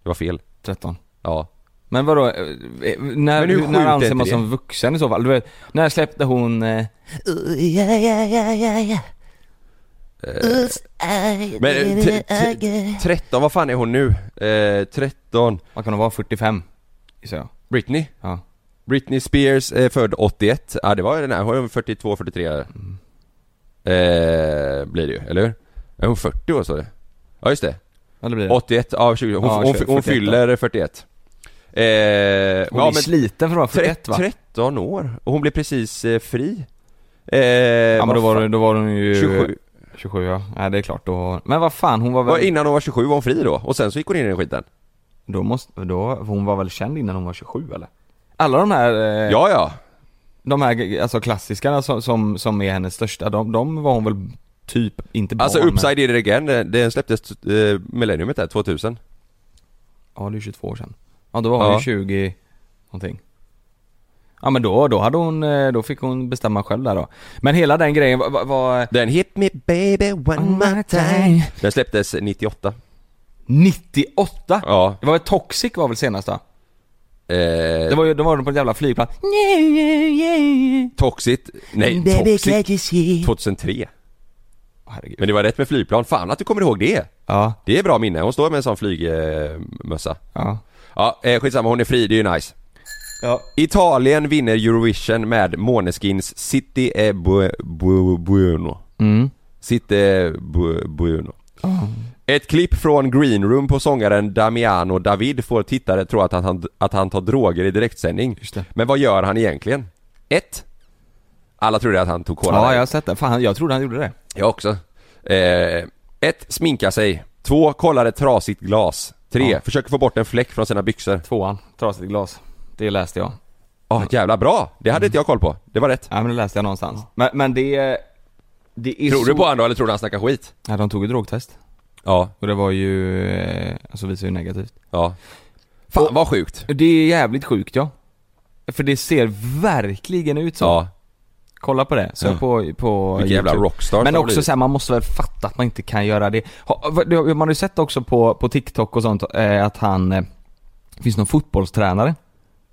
F: Det var fel.
G: 13.
F: Ja.
G: Men vadå, eh, eh, när,
F: Men hur sjukt
G: när
F: är
G: anser
F: inte
G: man
F: det?
G: som vuxen i så fall? Du vet, när släppte hon... Eh,
F: Eh. Men eh, t- t- 13, vad fan är hon nu? Eh, 13
G: vad kan hon vara? 45? gissar jag.
F: Britney?
G: Ja.
F: Britney Spears är född 81, ja det var den här, hon är 42, 43 eh, Blir det ju, eller hur? Är hon 40 år så det? Ja just det,
G: Eller blir det?
F: 81, ja 20, hon,
G: Ja,
F: hon,
G: tjugo,
F: hon
G: 41,
F: fyller 41 eh,
G: hon är sliten för att vara 41 va?
F: 13 år, och hon blev precis eh, fri eh,
G: ja men
F: vad
G: då var,
F: fan-
G: hon- då var hon ju...
F: 27
G: 27 ja, nej det är klart då. Men vad fan hon var väl...
F: Och Innan hon var 27 var hon fri då, och sen så gick hon in i den skiten
G: Då måste, då, hon var väl känd innan hon var 27 eller? Alla de här, eh,
F: Ja ja,
G: de här alltså klassikerna som, som, som är hennes största, de, de var hon väl typ, inte barn
F: alltså
G: men-
F: Upside Did It Again, den- den släpptes eh, millenniumet där, 2000
G: Ja det är 22 år sedan. Ja då var hon
F: Ja.
G: ju 20 någonting. Ja men då, då hade hon, eh, då fick hon bestämma själv där då. Men hela den grejen var, var, var
F: Den Hit Me Baby One More Time Den släpptes 98
G: 98!
F: Ja,
G: Det var väl Toxic var väl senast då?
F: eh,
G: Det var ju, då var de på ett jävla flygplan.
F: Toxic, nej Toxic 2003
G: Åh, herregud.
F: Men det var rätt med flygplan, fan att du kommer ihåg det!
G: Ja,
F: Det är bra minne, hon står med en sån flygmössa
G: ja.
F: Ja, eh, skitsamma, hon är fri, det är ju nice
G: Ja.
F: Italien vinner Eurovision med Måneskins City e Bu- Bu- Buono
G: Mm.
F: City e Bu- Buono Ett klipp från Green Room på sångaren Damiano David får tittare tro att han, att han tar droger i direktsändning
G: Just det.
F: Men vad gör han egentligen? 1. Alla trodde att han tog cola
G: Ja,
F: Light.
G: jag har sett det. Fan, jag trodde han gjorde det.
F: Jag också. Eh, ett, sminka sig. Två, kollar ett trasigt glas. Tre,
G: Ja.
F: försöker få bort en fläck från sina byxor.
G: Tvåan, trasigt glas. Det läste jag.
F: Ah, jävla bra! Det hade inte jag koll på. Det var rätt.
G: Ja men det läste jag någonstans. Men, men det... Det är
F: Tror
G: så...
F: du på honom då, eller tror du han snackar skit?
G: Ja, de tog ju drogtest.
F: Ja,
G: Och det var ju... eh, Alltså visade ju negativt.
F: ja. Fan vad sjukt.
G: Det är jävligt sjukt ja. För det ser verkligen ut så.
F: Ja,
G: Kolla på det. Sök
F: Ja.
G: på, på
F: Vilka jävla rockstars
G: Men
F: de har
G: också
F: blivit.
G: såhär, man måste väl fatta att man inte kan göra det. Ha- vad- det har- Man har ju sett också på, på TikTok och sånt eh, att han... eh, Det finns någon fotbollstränare.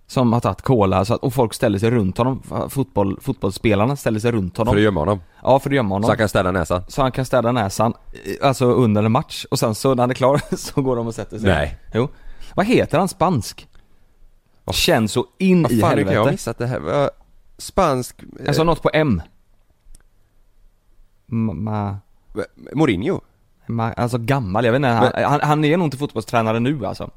G: Som har tagit cola så att, och folk ställer sig runt honom. Fotboll, fotbollsspelarna ställer sig runt honom.
F: för att gömma honom.
G: Ja, för att gömma honom.
F: Så han kan städa näsan.
G: så han kan städa näsan, eh, alltså under en match. Och sen så när han är klar så går de och sätter sig.
F: Nej.
G: Jo. Vad heter han spansk? Känns så in
F: Vad
G: i
F: fan, nu kan jag ha
G: helvete.
F: missat det här. Vad- Spansk... Eh,
G: Alltså något på M. Ma,
F: Mourinho?
G: ma, alltså gammal, jag vet inte. Han, han, han är nog inte fotbollstränare nu alltså.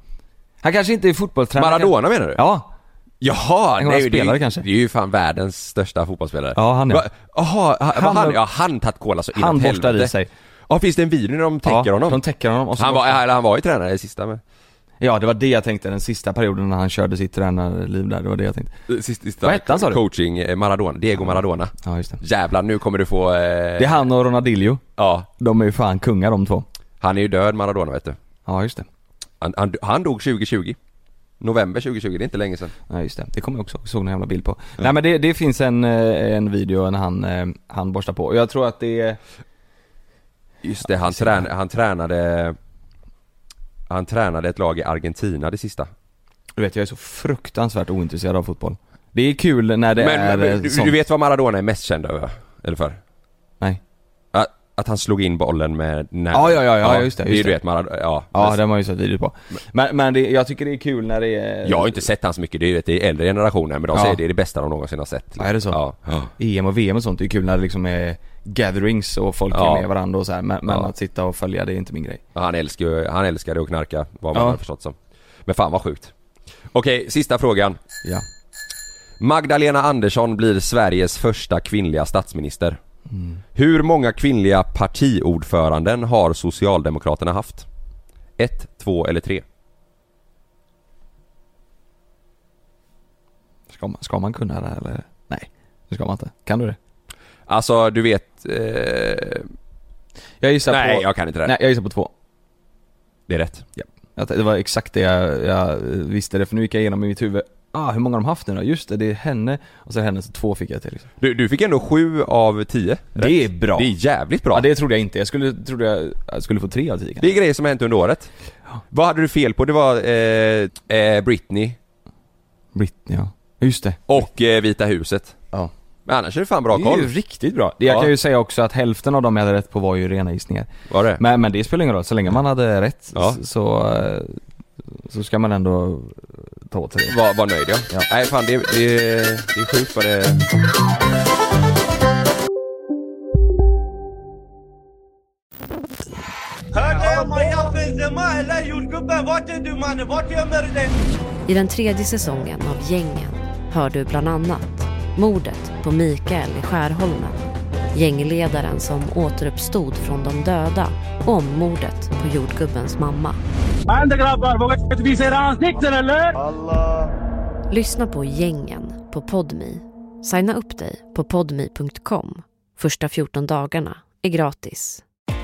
G: Han kanske inte är fotbollstränare.
F: Maradona menar du?
G: Ja.
F: Jaha!
G: En gammal
F: Nej, det, är
G: spelare
F: ju,
G: kanske.
F: det är ju fan världens största fotbollsspelare.
G: Ja, han är.
F: Va- Jaha, han,
G: Han-
F: han, han, ja, han tagit cola så inåt
G: Han borstar
F: helvete.
G: i sig.
F: Ja, finns det en video när de täcker
G: ja,
F: honom?
G: De täcker honom. Och så
F: han, var, eller han var ju tränare i sista men...
G: Ja, det var det jag tänkte den sista perioden när han körde sitt tränarliv där. Det var det jag tänkte.
F: Sista, sista
G: Vad hette han, sa du?
F: Coaching, eh, Maradona, Diego Maradona.
G: Ja, just det.
F: Jävlar, nu kommer du få... Eh,
G: Det är han och Ronaldinho.
F: Ja,
G: De är ju fan kungar de två.
F: han är ju död Maradona vet du.
G: Ja, just det.
F: Han, han, han dog 2020. November 2020, det är inte länge sedan.
G: Ja just det, det kommer jag också ihåg. såg en jävla bild på. Nej men det, det finns en, eh, en video när han, eh, han borstar på. Och Jag tror att det är...
F: Just det, han,
G: precis.
F: trän, han tränade... Han tränade ett lag i Argentina det sista.
G: Du vet jag är så fruktansvärt ointresserad av fotboll. Det är kul när det
F: men
G: är eh,
F: men du,
G: sånt.
F: du vet vad Maradona är mest känd över? Eller för?
G: Nej.
F: Att, att han slog in bollen med näven.
G: Ja, ja, ja, ja, just det, just
F: det.
G: det.
F: Du vet Maradona, ja.
G: Ja,
F: Men-
G: den har jag ju sett video på. Men, men det, jag tycker det är kul när det är...
F: Jag har ju inte sett han så mycket, det är ju det är äldre generationer men de
G: Ja.
F: säger det är det bästa de någonsin har sett.
G: Ja, är det så?
F: Ja.
G: EM E och VM och sånt, det är kul när det liksom är gatherings och folk
F: Ja.
G: är med varandra och så här. Men, men
F: Ja.
G: att sitta och följa, det är inte min grej.
F: Ja, Han älskar ju, han älskade att knarka vad man
G: Ja.
F: har förstått som. Men fan vad sjukt. Okej, sista frågan.
G: Ja.
F: Magdalena Andersson blir Sveriges första kvinnliga statsminister.
G: Mm.
F: Hur många kvinnliga partiordföranden har Socialdemokraterna haft? Ett, två eller tre?
G: Ska man, ska man kunna det här, eller? Nej, det ska man inte. Kan du det?
F: Alltså du vet... Eh,
G: Jag gissar
F: nej,
G: på...
F: jag kan inte det.
G: Nej, jag gissar på två.
F: Det är rätt.
G: Jag t- Det var exakt det jag, jag visste det, för nu gick jag igenom i mitt huvud Ah, hur många har de haft nu då? Just det, det är henne och så henne, så två fick jag till liksom.
F: Du, du fick ändå sju av tio.
G: Det är bra!
F: Det är jävligt bra.
G: Ja det trodde jag inte, jag skulle, trodde jag, jag skulle få tre av tio
F: Det
G: kanske.
F: är grejer som har hänt under året. Vad hade du fel på? Det var eh, eh, Britney,
G: Britney ja. Just det.
F: Och eh, Vita huset.
G: Ja.
F: Men annars är det fan bra
G: det är
F: koll.
G: ju riktigt bra. Jag
F: Ja.
G: kan ju säga också att hälften av dem jag hade rätt på var ju rena gissningar.
F: Var det?
G: Men, men det spelar ingen roll, så länge man hade rätt
F: Ja.
G: s- så, eh, så ska man ändå ta åt sig det.
F: Var, var nöjd ja.
G: Ja.
F: Nej fan det, det, det är sjukt vad det...
I: I den tredje säsongen av Gängen hör du bland annat mordet på Mikael i Skärholmen, gängledaren som återuppstod från de döda och om mordet på jordgubbens mamma. Lyssna på Gängen på Podmi. Signa upp dig på podmi.com. Första 14 dagarna är gratis.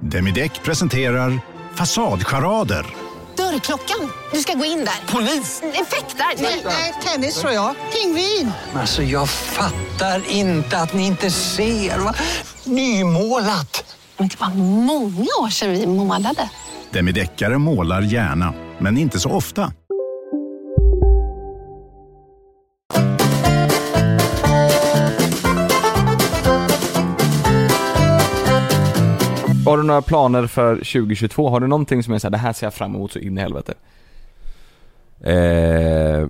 B: Demideck presenterar Fasadcharader.
I: Dörrklockan. Du ska gå in där. Polis? Effektar? Nej, tennis tror jag. Pingvin.
J: Alltså jag fattar inte att ni inte ser. Va? Nymålat!
I: Men det var många år sedan vi målade.
B: Demideckare målar gärna, men inte så ofta.
G: Har du några planer för 2022? Har du någonting som är såhär, det här ser jag fram emot så in i helvete?
F: Eh,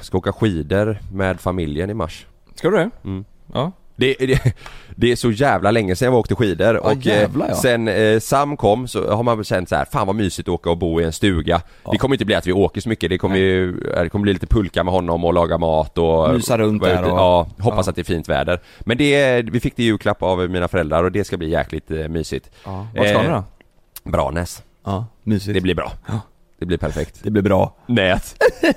F: ska åka skidor med familjen i mars.
G: Ska du det?
F: Mm.
G: Ja.
F: Det, det, det är så jävla länge sedan jag åkte skidor och eh,
G: jävlar, ja.
F: sen eh, Sam kom så har man väl känt så här, fan vad mysigt att åka och bo i en stuga. Det kommer inte bli att vi åker så mycket, det kommer, ju, eh, det kommer bli lite pulka med honom och laga mat och
G: Mysa runt
F: vara
G: där
F: ute-
G: och-
F: Ja, hoppas
G: Ja.
F: att det är fint väder. Men det, vi fick det i julklapp av mina föräldrar och det ska bli jäkligt eh, mysigt.
G: ja. Vart ska
F: Eh,
G: du då?
F: Branäs,
G: Ja, mysigt.
F: det blir bra. Det blir perfekt.
G: det blir bra.
F: Nät.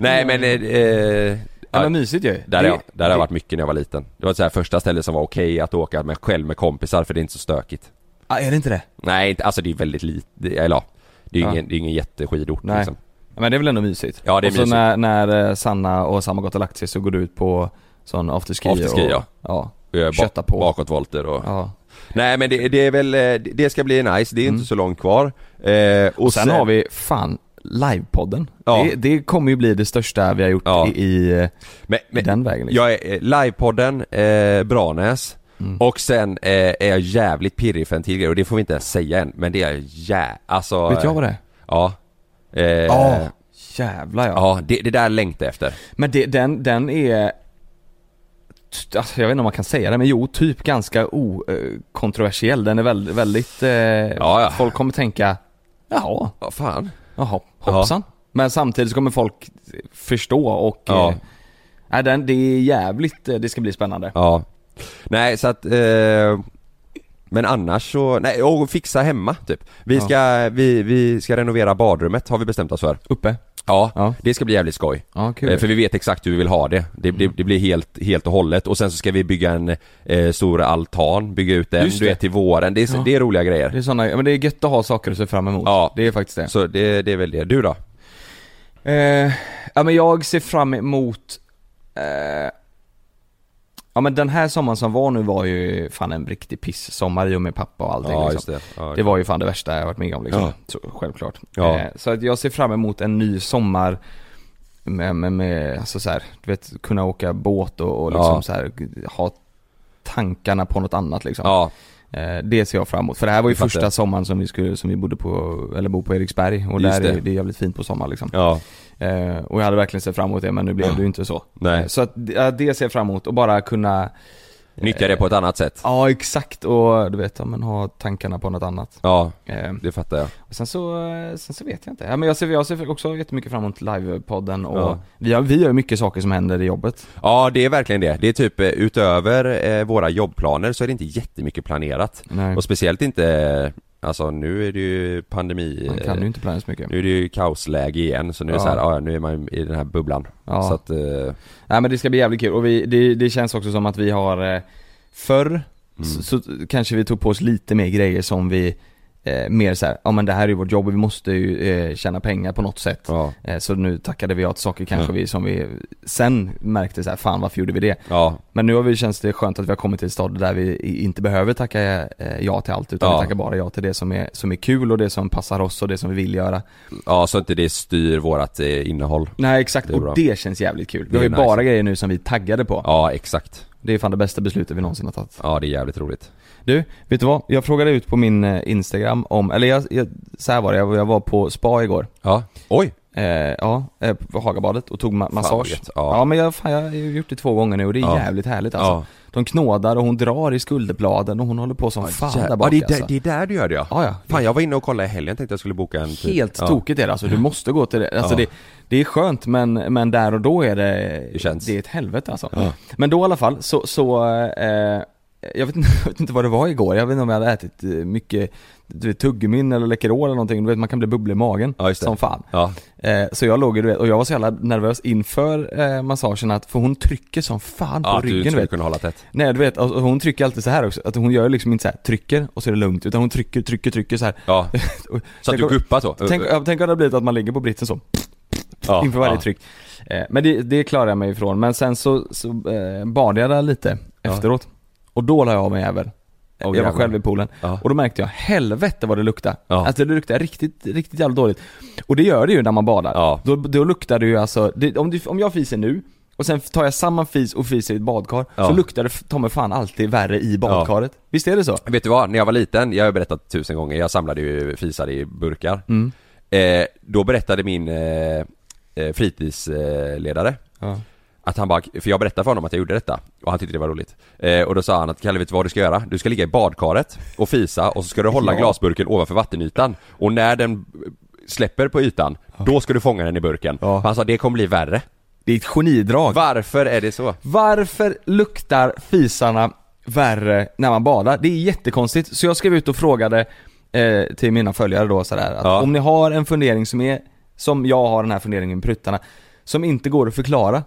F: Nej men... Eh, eh,
G: Ja,
F: ja.
G: men mysigt ju.
F: Där, har
G: Det-
F: jag, där har jag
G: det-
F: varit mycket när jag var liten. Det var så här första stället som var okej att åka med själv med kompisar för det är inte så stökigt.
G: Ja, är det inte det?
F: Nej, inte- alltså det är väldigt lite, eller ja, det är ju
G: Ja.
F: ingen, det är ingen jätteskidort
G: Nej.
F: liksom.
G: Ja, men det är väl ändå mysigt?
F: Ja, det är
G: och så
F: mysigt.
G: När, när eh, Sanna och Sam har gått och lagt sig så går du ut på sån afterski
F: Afterski,
G: och,
F: ja.
G: ja.
F: Och jag
G: Kötta på.
F: Bakåtvolter och...
G: ja.
F: Nej men det, det är väl, eh, det- det ska bli nice, det är inte så långt kvar. Eh, och,
G: Mm. Och sen, har vi, fan, livepodden.
F: Ja.
G: Det, det kommer ju bli det största vi har gjort
F: Ja.
G: i, i, eh,
F: men,
G: i
F: men,
G: den vägen liksom. Mm.
F: Jag är eh, livepodden, eh, Branäs och sen eh, är jag jävligt pirrig för en till grej och det får vi inte ens säga än men det är jag jä... alltså...
G: Vet jag vad det är?
F: Ja. Eh,
G: Ja, jävlar ja.
F: Ja, det, det där längtar jag efter.
G: Men det, den, den är... t- Alltså, jag vet inte om man kan säga det, men jo, typ ganska okontroversiell. Den är väldigt, väldigt eh,
F: ja.
G: Folk kommer tänka, jaha,
F: Ja, fan.
G: jaha, hoppsan. Men samtidigt så kommer folk förstå och...
F: Ja.
G: Eh, nej, den, det är jävligt, eh, det ska bli spännande.
F: Ja. Nej, så att... Eh, men annars så, nej, och fixa hemma typ. Vi ska, vi, vi ska renovera badrummet har vi bestämt oss för.
G: Uppe?
F: Ja,
G: Ja.
F: det ska bli jävligt skoj.
G: Ja, kul. Mm.
F: Eh, För vi vet exakt hur vi vill ha det. Det, det, det blir helt, helt och hållet och sen så ska vi bygga en eh, stor altan, bygga ut den,
G: Just
F: du
G: det.
F: vet till våren. Det är,
G: Ja.
F: det är roliga grejer.
G: Det är såna, ja, men det är gött att ha saker att se fram emot.
F: Ja.
G: Det är faktiskt det.
F: Så det, det är väl det. Du då?
G: Eh, ja men jag ser fram emot eh, Ja men den här sommaren som var nu var ju fan en riktig piss-sommar i och med pappa och allting
F: Ja,
G: liksom.
F: just det. Ja,
G: Det var ju fan det värsta jag varit med om liksom.
F: Ja.
G: Så, självklart.
F: Ja.
G: Eh, så att jag ser fram emot en ny sommar med, med, med alltså så här, du vet, kunna åka båt och, och liksom
F: Ja.
G: så här, ha tankarna på något annat liksom.
F: Ja,
G: Eh, det ser jag fram emot. För det här var ju
F: Jag fattar.
G: första sommaren som vi skulle, som vi bodde på, eller bor på Eriksberg och
F: Just
G: där är
F: det.
G: det är jävligt fint på sommaren liksom.
F: ja,
G: Eh, och jag hade verkligen sett fram emot det men nu blev det ju inte så.
F: Nej.
G: Eh, Så att, ja, det ser jag fram emot och bara kunna,
F: nyttja det på ett annat sätt.
G: ja exakt och du vet, ja, men ha tankarna på något annat.
F: Ja,
G: Eh,
F: det fattar jag.
G: och sen så, eh, sen så vet jag inte. Ja, men jag ser, jag ser också jättemycket fram emot livepodden och
F: Ja.
G: vi, har, vi gör ju mycket saker som händer i jobbet.
F: Ja det är verkligen det. Det är typ eh, utöver eh, våra jobbplaner så är det inte jättemycket planerat.
G: Nej.
F: Och speciellt inte eh, Alltså nu är det ju pandemi
G: Man kan ju inte planera så mycket.
F: Nu är det ju kaosläge igen så nu är det
G: Ja.
F: så här, ja nu är man i den här bubblan
G: Ja.
F: Så att, eh,
G: Nej men det ska bli jävligt kul och vi, det, det känns också som att vi har eh, Förr
F: Mm.
G: så, så kanske vi tog på oss lite mer grejer som vi eh, Mer såhär, ja men det här är ju vårt jobb och vi måste ju eh, tjäna pengar på något sätt eh, Så nu tackade vi ja till saker kanske
F: Mm.
G: vi som vi sen märkte så här, fan varför gjorde vi det?
F: ja
G: Men nu har vi, känns det skönt att vi har kommit till ett stadie där vi i- inte behöver tacka eh, ja till allt utan
F: Ja.
G: vi tackar bara ja till det som är, som är kul och det som passar oss och det som vi vill göra
F: Ja så inte det styr vårat eh, innehåll
G: Nej exakt,
F: Det är bra.
G: och det känns jävligt kul.
F: Det
G: Vi har
F: är
G: ju
F: nice.
G: bara grejer nu som vi är taggade på.
F: Ja exakt
G: Det är fan det bästa beslutet vi någonsin har tagit.
F: Ja det är jävligt roligt
G: Du, vet du vad? Jag frågade ut på min eh, Instagram om, eller jag, jag så här var det, jag, var- jag var på spa igår.
F: Ja, oj!
G: Eh, ja, eh, på Hagabadet och tog ma-
F: vad
G: massage.
F: gött. Ja.
G: Ja. men jag, fan, jag har ju gjort det två gånger nu och det är
F: Ja.
G: jävligt härligt alltså.
F: Ja.
G: De knådar och hon drar i skulderbladen och hon håller på som fan
F: Jä-
G: där bak
F: ja, det, är där,
G: alltså.
F: det är där du gör det ja.
G: ja.
F: Fan jag var inne och kollade i helgen tänkte jag skulle boka en tid.
G: Helt
F: ja.
G: tokigt är det alltså, du måste gå till det. Alltså
F: Ja.
G: det, det är skönt men, men där och då är det,
F: Det känns.
G: det är ett helvete alltså.
F: Ja.
G: Men då i alla fall så, så eh, jag, vet inte, jag vet inte vad det var igår, jag vet inte om jag hade ätit eh, mycket du vet, tuggummin eller Läkerol eller någonting, du vet man kan bli bubblig i magen
F: Ja, just det.
G: som fan.
F: Ja.
G: Eh, så jag låg ju, du vet, och jag var så jävla nervös inför eh, massagen att, för hon trycker som fan på
F: Ja, att du
G: ryggen
F: skulle
G: vet.
F: kunna hålla tätt.
G: Nej du vet, och och hon trycker alltid så här också, att hon gör liksom inte så här trycker och så är det lugnt, utan hon trycker, trycker, trycker så här.
F: Ja. Så
G: Och-
F: att du
G: tänk om-
F: guppar så?
G: Tänk, ja, tänk om det hade blivit att man ligger på britsen så,
F: Ja,
G: inför varje
F: ja.
G: tryck. Eh, men det, det klarar jag mig ifrån. Men sen så, så eh, badade jag där lite
F: Ja.
G: efteråt. Och då la jag av mig även. jag var
F: jävlar.
G: själv i poolen.
F: Ja.
G: Och då märkte jag, helvete vad det luktade.
F: Ja.
G: Alltså det luktade riktigt, riktigt jävligt dåligt. Och det gör det ju när man badar. Då, då luktar det ju alltså, det, om, du, om jag fiser nu, och sen tar jag samma fis och fiser i ett badkar,
F: Ja.
G: så luktar det f- ta mig fan alltid värre i badkaret. Visst är det så?
F: Vet du vad, när jag var liten, jag har ju berättat tusen gånger, jag samlade ju fisar i burkar.
G: Mm.
F: Eh, då berättade min eh, eh, fritidsledare
G: Ja.
F: att han bara, för jag berättade för honom att jag gjorde detta och han tyckte det var roligt. Eh, och då sa han att Kalle vet du vad du ska göra? Du ska ligga i badkaret och fisa och så ska du hålla
G: Ja.
F: glasburken ovanför vattenytan och när den släpper på ytan, då ska du fånga den i burken. Han sa det kommer bli värre.
G: Det är ett genidrag.
F: Varför är det så?
G: Varför luktar fisarna värre när man badar? Det är jättekonstigt. Så jag skrev ut och frågade eh, till mina följare då sådär att
F: Ja.
G: om ni har en fundering som är, som jag har den här funderingen med pruttarna, som inte går att förklara.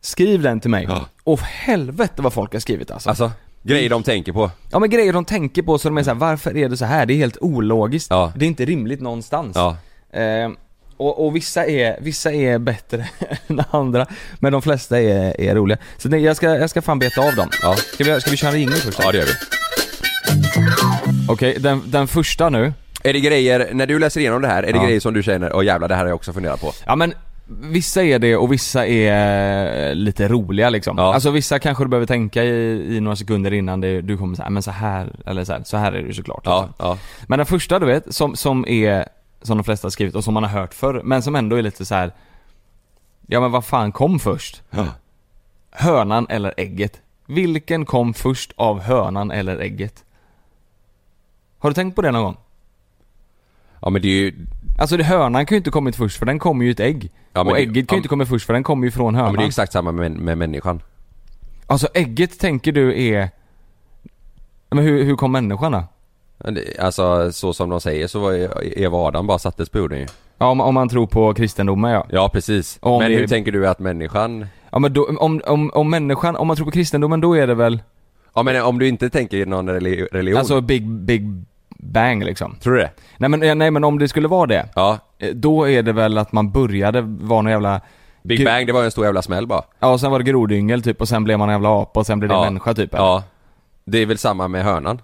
G: Skriv den till mig. Och helvete vad folk har skrivit alltså.
F: Alltså, grejer de tänker på.
G: Ja men grejer de tänker på så de är såhär, varför är det så här? Det är helt ologiskt. Det är inte rimligt någonstans.
F: Ja.
G: Eh, och, och vissa är, vissa är bättre än andra, men de flesta är, är roliga. Så det, jag, ska, jag ska fan beta av dem. Ja. Ska, vi, ska vi köra en ringning först?
F: Ja det gör vi.
G: Okej, den, den första nu.
F: Är det grejer, när du läser igenom det här, är det
G: Ja.
F: grejer som du känner, åh jävlar det här har jag också funderat på?
G: Ja men vissa är det och vissa är eh, lite roliga liksom. Alltså vissa kanske du behöver tänka i, i några sekunder innan det, du kommer säga men så här eller så här, så här är det ju såklart.
F: Ja,
G: liksom.
F: ja.
G: Men den första du vet, som, som är, som de flesta har skrivit och som man har hört förr, men som ändå är lite så här. Ja men vad fan kom först? Hönan eller ägget? Vilken kom först av hönan eller ägget? Har du tänkt på det någon gång?
F: Ja men det är ju,
G: Alltså det, hönan kan ju inte kommit först för den kommer ju i ett ägg.
F: Ja, men
G: och
F: det-
G: ägget kan
F: ja,
G: ju inte komma först för den kommer ju från
F: ja,
G: hönan.
F: men det är exakt samma med, med människan.
G: Alltså ägget tänker du är... Men hur, hur kom människan då?
F: Men det- Alltså så som de säger så var ju Eva och Adam bara sattes på jorden ju.
G: Ja, om, om man tror på kristendomen ja.
F: Ja precis.
G: Om
F: men
G: det-
F: hur tänker du att människan...
G: Ja men då, om, om, om människan, om man tror på kristendomen då är det väl...
F: Ja men om du inte tänker i någon reli- religion,
G: Alltså big, big bang liksom.
F: tror du det?
G: Nej men, eh, nej men om det skulle vara det.
F: Ja.
G: eh, Då är det väl att man började vara någon jävla...
F: Big
G: Gud-
F: Bang det var ju en stor jävla smäll bara.
G: Ja och sen var det grodyngel typ och sen blev man en jävla apa och sen blev det
F: Ja.
G: människa typ. eller?
F: Ja. Det är väl samma med hönan?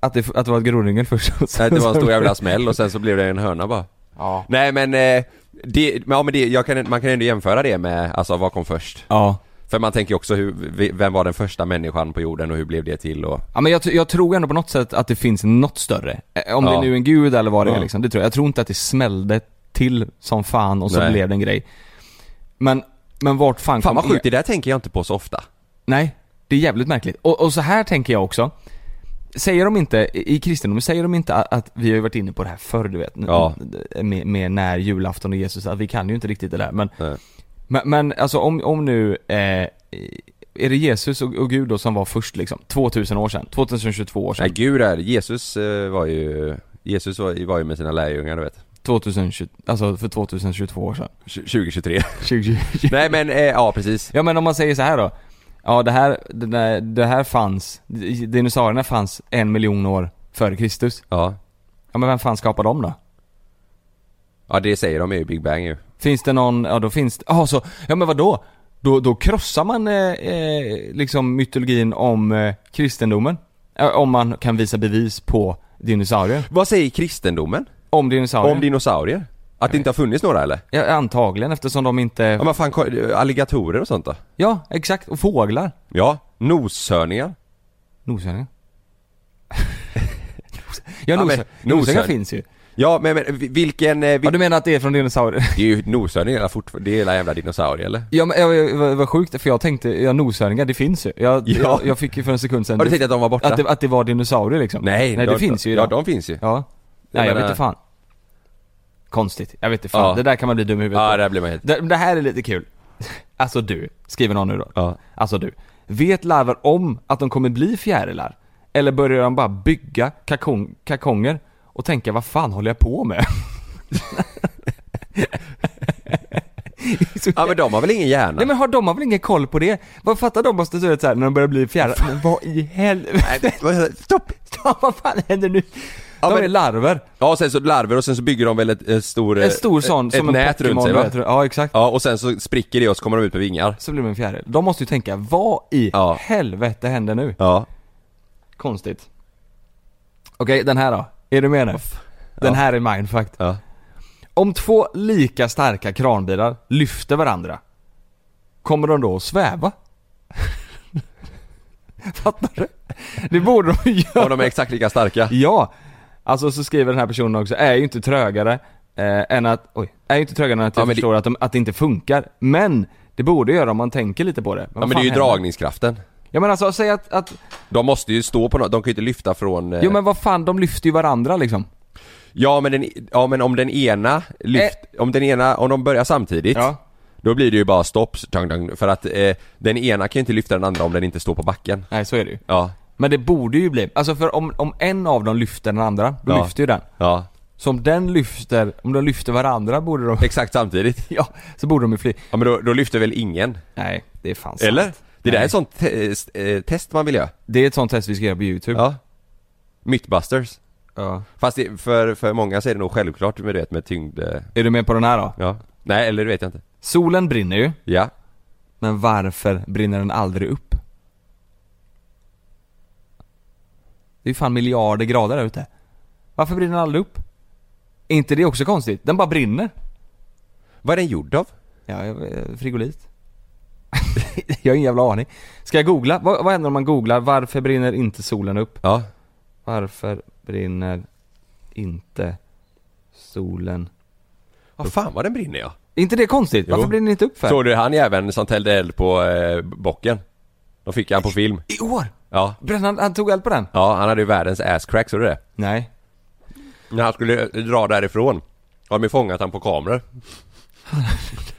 G: Att, det, att det var ett grodyngel först och sen,
F: Att det var en stor jävla smäll och sen så blev det en höna bara.
G: Ja.
F: Nej men, eh, det, men, ja, men det, jag kan, man kan ändå jämföra det med, alltså vad kom först?
G: Ja.
F: För man tänker också hur, vi- vem var den första människan på jorden och hur blev det till och...
G: Ja men jag, tr- jag tror ändå på något sätt att det finns något större. Eh, Om
F: Ja.
G: det nu är en gud eller vad det
F: Ja.
G: är liksom, det tror jag. Jag tror inte att det smällde till som fan och så
F: Nej.
G: blev det en grej. Men, men vart fan
F: Fan
G: kom
F: vad sjukt,
G: er-
F: det där tänker jag inte på så ofta.
G: Nej, det är jävligt märkligt. Och, och så här tänker jag också. Säger de inte, i i kristendomen, säger de inte att, att vi har ju varit inne på det här förr du vet, n-
F: Ja.
G: med, med när julafton och Jesus, att vi kan ju inte riktigt det där men Men, men alltså om, om nu eh, är det Jesus och, och Gud då som var först liksom? 2000 år sedan? 2022 år sedan?
F: Nej gud är Jesus eh, var ju Jesus var, var ju med sina lärjungar du vet
G: 2020, alltså för 2022 år sedan.
F: 2023
G: 2020.
F: Nej men, eh, ja precis
G: Ja men om man säger så här då. Ja det här, det, där, det här fanns, dinosaurierna fanns en miljon år före Kristus.
F: Ja.
G: Ja men vem fan skapade dem då?
F: Ja det säger de är ju Big Bang ju
G: Finns det någon, ja då finns det, ja så, ja men vadå? Då, då krossar man eh, eh, liksom mytologin om eh, kristendomen. Eh, om man kan visa bevis på dinosaurier.
F: Vad säger kristendomen?
G: Om dinosaurier.
F: Om dinosaurier? Att det inte har funnits några eller?
G: Ja, antagligen eftersom de inte...
F: Ja men fan, ko- alligatorer och sånt då?
G: Ja, exakt. Och fåglar.
F: Ja, noshörningar
G: Noshörningar.
F: men-
G: ja, nos, noshörningar
F: noshörning.
G: finns ju.
F: Ja men, men vi- vilken... eh, vil-
G: Ja, du menar att det är från dinosaurier?
F: Det är ju noshörningar hela fortfarande, det är hela jävla dinosaurier eller?
G: Ja men jag, jag, vad- vad sjukt, för jag tänkte, ja noshörningar det finns ju. Jag,
F: Ja.
G: jag, jag fick ju för en sekund sedan
F: Har du tänkt att de var borta?
G: att, det, att det var dinosaurier liksom.
F: Nej,
G: Nej det finns ju
F: Ja
G: idag.
F: de finns ju
G: Ja. Nej jag
F: menar-
G: vet inte fan. Konstigt, jag vet inte fan.
F: Ja.
G: Det där kan man bli dum i huvudet
F: Ja
G: på.
F: där blir man helt...
G: det, det här är lite kul. Alltså du, skriver någon nu då.
F: Ja.
G: Alltså du. Vet larver om att de kommer bli fjärilar? Eller börjar de bara bygga kakong, kakonger och tänka vad fan håller jag på med?
F: Ja men de har väl ingen hjärna?
G: Nej men har de har väl ingen koll på det? Vad fattar de måste se ut såhär när de börjar bli fjärilar? Men vad i helvete?
F: men... Stopp!
G: Ja, vad fan händer nu?
F: Ja,
G: de
F: men-
G: är larver.
F: Ja och sen så larver och sen så bygger de väl ett, ett stor...
G: En stor sån
F: Eh, ett,
G: som
F: ett
G: en
F: nät runt
G: Pokémon,
F: sig
G: du
F: va?
G: vet. Ja exakt.
F: Ja och sen så spricker det och så kommer de ut med vingar
G: Så blir de en fjäril. De måste ju tänka, vad i
F: Ja.
G: helvete händer nu?
F: Ja
G: Konstigt. Okej, den här då. Är du med nu? Den här är mindfuck.
F: Ja.
G: Om två lika starka kranbilar lyfter varandra, kommer de då att sväva? Fattar du? Det borde de ju göra.
F: Och de är exakt lika starka
G: Ja! Alltså så skriver den här personen också, är ju inte trögare eh, än att, oj, är ju inte trögare än att jag
F: Ja, men det-
G: förstår att, de, att det inte funkar. Men, det borde göra om man tänker lite på det. Men, vad
F: Ja men det
G: fan
F: är ju
G: händer?
F: dragningskraften
G: Ja men alltså, säg att, att
F: De måste ju stå på något, de kan ju inte lyfta från... eh,
G: jo men vad fan, de lyfter ju varandra liksom.
F: Ja men, den, ja, men om den ena lyft, om den ena, om de börjar samtidigt
G: Eh. Ja.
F: Då blir det ju bara stopp, så tang, tang, för att eh, den ena kan ju inte lyfta den andra om den inte står på backen
G: Nej, så är det ju.
F: Ja,
G: Men det borde ju bli, alltså för om, om en av dem lyfter den andra, då
F: Ja.
G: lyfter ju den.
F: ja,
G: Så om den lyfter, om de lyfter varandra borde de,
F: exakt samtidigt
G: ja, så borde de ju fly.
F: Ja men då, då lyfter väl ingen?
G: Nej, det är fan sant.
F: Eller? Det där är
G: Nej.
F: ett sånt te- s- eh, test man vill göra
G: Det är ett sånt test vi ska göra på youtube.
F: Ja Mythbusters
G: Ja.
F: Fast det, för, för många så är det nog självklart med, du vet, med tyngd... eh,
G: Är du med på den här då?
F: Ja. Nej, eller det vet jag inte.
G: Solen brinner ju.
F: Ja.
G: Men varför brinner den aldrig upp? Det är ju fan miljarder grader där ute. Varför brinner den aldrig upp? Är inte det också konstigt? Den bara brinner.
F: Vad är den gjord av?
G: Ja, jag- eh, frigolit. jag har ingen jävla aning. Ska jag googla? Vad, vad händer om man googlar 'Varför brinner inte solen upp?'
F: Ja.
G: Varför brinner inte solen?
F: Vad fan vad den brinner ja.
G: Är inte det konstigt? Varför
F: Jo.
G: brinner den inte upp för?
F: Såg du han jäveln som tällde eld på eh, bocken? De fick han på film.
G: I år?
F: Ja.
G: Brände han, han tog eld på den?
F: Ja, han hade ju världens asscrack, såg du det?
G: Nej.
F: När han skulle eh, dra därifrån har de ju fångat han på kameror.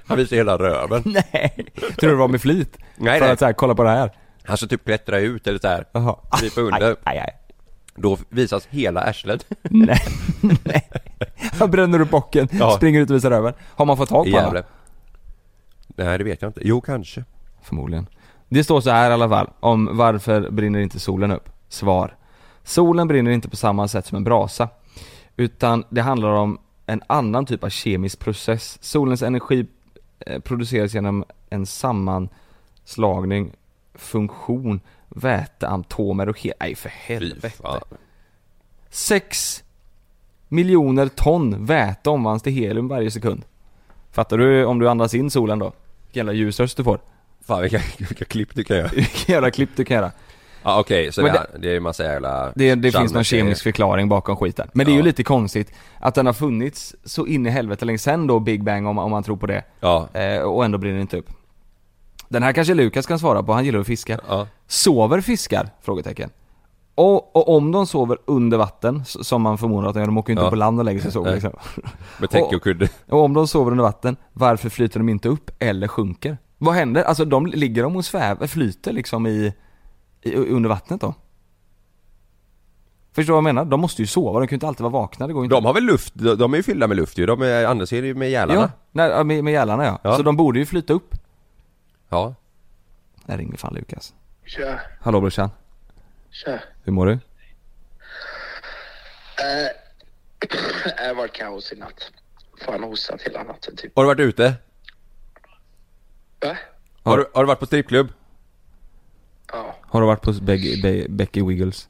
F: Han visade hela röven.
G: Nej. Tror du det var med flit?
F: Nej,
G: För
F: nej.
G: att så här, kolla på det här.
F: Han så typ klättra ut eller så här.
G: Jaha.
F: krypa under.
G: Aj, aj, aj.
F: Då visas hela arslet.
G: Nej, nej. Han bränner upp bocken,
F: Ja.
G: springer ut och visar röven. Har man fått tag
F: I
G: på honom?
F: Gävle. Nej, det vet jag inte. Jo, kanske.
G: Förmodligen. Det står så här i alla fall, om varför brinner inte solen upp? Svar. Solen brinner inte på samma sätt som en brasa. Utan det handlar om en annan typ av kemisk process. Solens energi eh, produceras genom en sammanslagning, funktion, väteatomer och he- Nej för
F: Fy
G: helvete.
F: fan.
G: 6 miljoner ton väte omvandlas till helium varje sekund. Fattar du om du andas in solen då? Vilken jävla ljusröst du får.
F: Fan vilka, vilka klipp du kan göra.
G: Vilka jävla klipp du kan göra.
F: Ja okej, så
G: Men
F: det, här- det är massa jävla...
G: Det, det finns
F: Chalmers-
G: någon kemisk förklaring bakom skiten. Men det är ju
F: Ja.
G: lite konstigt att den har funnits så in i helvete länge sen då, Big Bang om, om man tror på det.
F: Ja.
G: Eh, och ändå blir den inte upp. Den här kanske Lukas kan svara på, han gillar att fiska.
F: Ja.
G: Sover fiskar? Frågetecken. Och, och om de sover under vatten, s- som man förmodar att de gör, de åker ju inte
F: Ja.
G: upp på land och lägger sig och sover
F: Nej.
G: liksom.
F: Med täcke och kudde.
G: Och om de sover under vatten, varför flyter de inte upp eller sjunker? Vad händer? Alltså de, ligger de och svävar, flyter liksom i, i, under vattnet då? Förstår du vad jag menar? De måste ju sova, de kan ju inte alltid vara vakna, det går ju inte.
F: De har väl luft, de de är ju fyllda med luft ju, de är, annars är det ju med gälarna.
G: Ja, nej, ja, med, med gälarna ja.
F: Ja.
G: Så de borde ju flyta upp.
F: Ja.
G: Där ringer fan Lukas.
K: Tja,
G: Hallå brorsan,
K: tja.
G: hur mår du?
K: Eh, det var kaos i natt. Fan hostat hela natten typ.
F: Har du varit ute?
K: Va?
F: Har du, har du varit på strippklubb?
G: Har du varit på Be- Be- Becky Wiggles?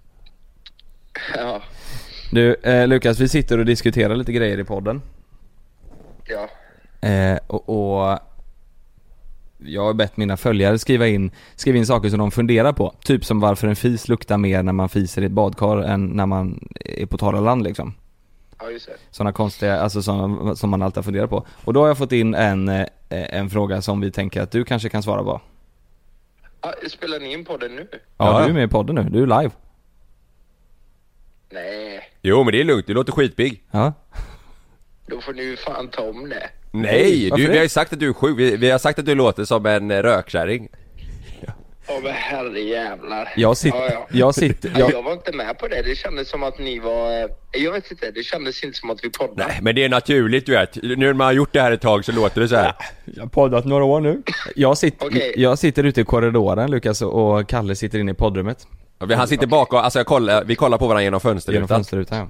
K: Ja,
G: Du, eh, Lukas, vi sitter och diskuterar lite grejer i podden.
K: ja.
G: Eh, och, och jag har bett mina följare skriva in, skriva in saker som de funderar på. Typ som varför en fis luktar mer när man fiser i ett badkar än när man är på torra land liksom.
K: Ja, just det.
G: Sådana konstiga, alltså som, som man alltid har funderat på. Och då har jag fått in en, eh, en fråga som vi tänker att du kanske kan svara på.
K: Ah, spelar ni in podden nu?
G: Ja, du är med i podden nu, du är live.
K: Nej,
F: Jo men det är lugnt, du låter skitpigg.
G: Ja.
K: då får ni ju fan ta om det.
F: Nej!
K: Varför
F: Du,
K: det?
F: vi har ju sagt att du är sjuk, vi, vi har sagt att du låter som en eh, rökkärring.
K: Ja, men herrejävlar.
F: Jag sitter-
K: Ja, ja.
F: jag sitter-
K: Ja,
F: jag-
K: jag var inte med på det. Det kändes som att ni var... eh, Jag vet inte, det kändes inte som att vi poddade.
F: Nej, Men det är naturligt du vet, nu när man har gjort det här ett tag så låter det så här.
G: Jag har poddat några år nu. Jag sitter,
F: Okej.
G: jag sitter ute i korridoren Lukas och och Kalle sitter inne i poddrummet.
F: Ja, vi- Han sitter bakom, alltså jag kollar, vi kollar på varandra genom fönsterrutan.
G: Genom fönsterrutan ja.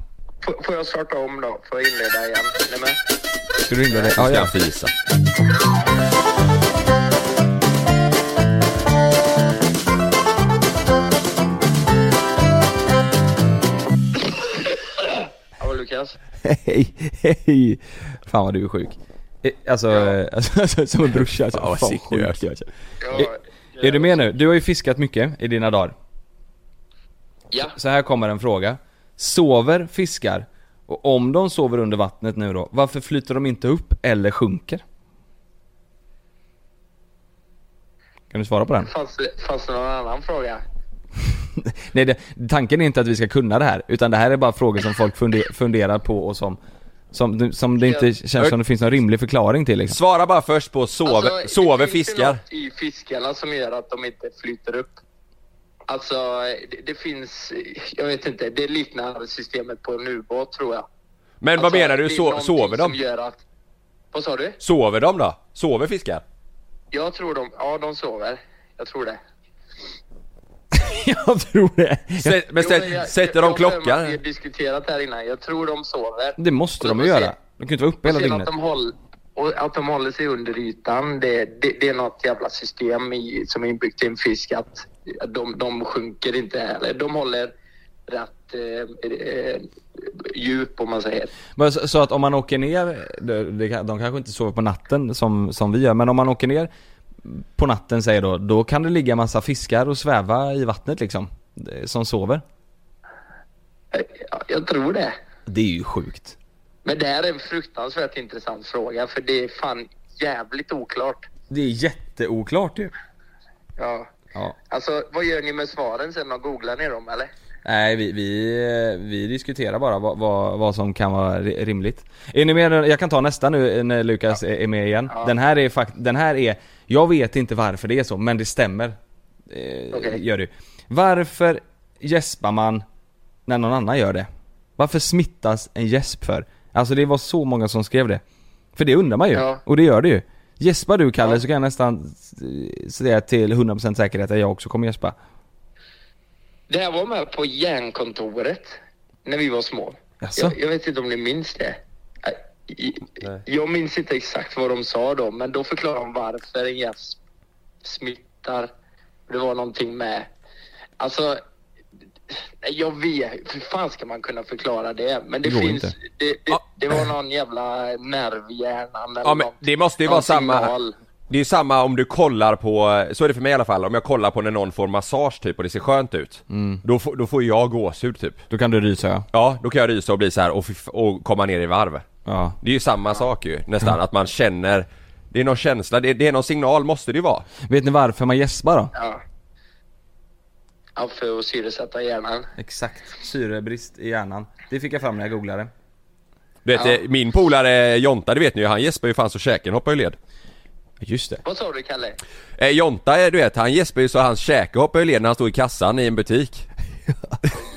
K: F- får jag starta om då? Får jag inleda igen? Är ni med?
G: Ska du ringa dig?
F: Nu ska han fisa.
K: Hallå Lukas?
G: Hej, hej! Fan vad du är sjuk. Eh, Alltså, eh, alltså, alltså som en brorsa alltså.
F: Fan, vad
G: Fan
F: sick
G: sjuk
F: du är.
G: jag är. Eh, Är du med nu? Du har ju fiskat mycket i dina dagar.
K: Ja.
G: Så här kommer en fråga. Sover fiskar? Och om de sover under vattnet nu då, varför flyter de inte upp eller sjunker? Kan du svara på den?
K: Fanns det, fanns det någon annan fråga?
G: Nej, det, tanken är inte att vi ska kunna det här, utan det här är bara frågor som folk funde- funderar på och som, som, som det inte känns som det finns någon rimlig förklaring till liksom.
F: Svara bara först på sover,
K: Alltså,
F: sover
K: det finns ju
F: fiskar?
K: något i fiskarna som gör att de inte flyter upp. Alltså, det, det finns, jag vet inte, det liknar systemet på en ubåt tror jag.
F: Men vad
K: Alltså,
F: menar du,
K: det är
F: so-
K: någonting
F: sover
K: som
F: de?
K: Gör att, vad sa du?
F: Sover de då? Sover fiskar?
K: Jag tror de, ja de sover. Jag tror det.
G: Jag tror det.
F: Sätt, men sätt,
K: Jo, men jag-
F: sätter
K: jag-
F: de
K: jag har för mig
F: klockan?
K: att Vi har diskuterat det här innan. Jag tror de sover.
G: Det måste de ju göra. De kan ju inte vara uppe hela
K: Och sen att
G: dygnet.
K: de, håll, och att de håller sig under ytan, det, det, det är något jävla system i, som är inbyggt i en fisk att de, de sjunker inte heller. De håller rätt eh, eh, djup om man säger.
G: Men så, så att om man åker ner, det, det, kan- de kanske inte sover på natten som, som vi gör, men om man åker ner på natten säger då, då kan det ligga massa fiskar och sväva i vattnet liksom. eh, Som sover.
K: Ja, Jag tror det.
G: Det är ju sjukt.
K: Men det här är en fruktansvärt intressant fråga för det är fan jävligt oklart.
G: Det är jätteoklart ju.
K: Ja.
G: Ja.
K: Alltså vad gör ni med svaren sen? då? Googlar ni dem eller?
G: Nej, vi, vi, eh, vi diskuterar bara vad, vad, vad som kan vara ri- rimligt. Är ni med? Jag kan ta nästa nu eh, när Lukas är- är med igen. Den här är fakt- den här är, jag vet inte varför det är så, men det stämmer. Eh, Gör det. Varför gäspar man när någon annan gör det? Varför smittas en gäsp för? Alltså det var så många som skrev det. För det undrar man ju,
K: Ja.
G: och det gör det ju. Gäspar du Kalle så kan jag nästan eh, säga till 100% säkerhet att jag också kommer gäspa.
K: Det här var med på järnkontoret när vi var små.
G: Jaså?
K: Jag, jag vet inte om ni minns det? Äh, i- Jag minns inte exakt vad de sa då, men då förklarade de varför en gäst smittar. Det var någonting med... Alltså, jag vet Hur fan ska man kunna förklara det? Men det,
F: Det går
K: finns...
F: inte.
K: Det, det, det var någon jävla nerv i hjärnan eller
F: Ja men
K: något.
F: det måste ju
K: någon
F: vara samma
K: signal.
F: Det är ju samma om du kollar på, så är det för mig i alla fall, om jag kollar på när någon får massage typ och det ser skönt ut
G: Mm.
F: Då, får- då får jag gåshud typ
G: Då kan du rysa ja.
F: Ja, då kan jag rysa och bli så här och, fy f- och komma ner i varv
G: Ja.
F: Det är ju samma sak ju nästan, att man känner Det är någon känsla, det, det är någon signal måste det ju vara
G: Vet ni varför man gäspar då?
K: Ja. ja, för att syresätta hjärnan.
G: Exakt, syrebrist i hjärnan. Det fick jag fram när jag googlade.
F: Du vet,
K: Ja.
F: eh, min polare Jonta, det vet ni ju, han gäspar ju fan så käken hoppar ju led
G: Just det.
K: Vad sa du Kalle?
F: Eh, Jonta, eh, du vet, han gäspade ju så hans käke hoppade ju i led när han stod i kassan i en butik.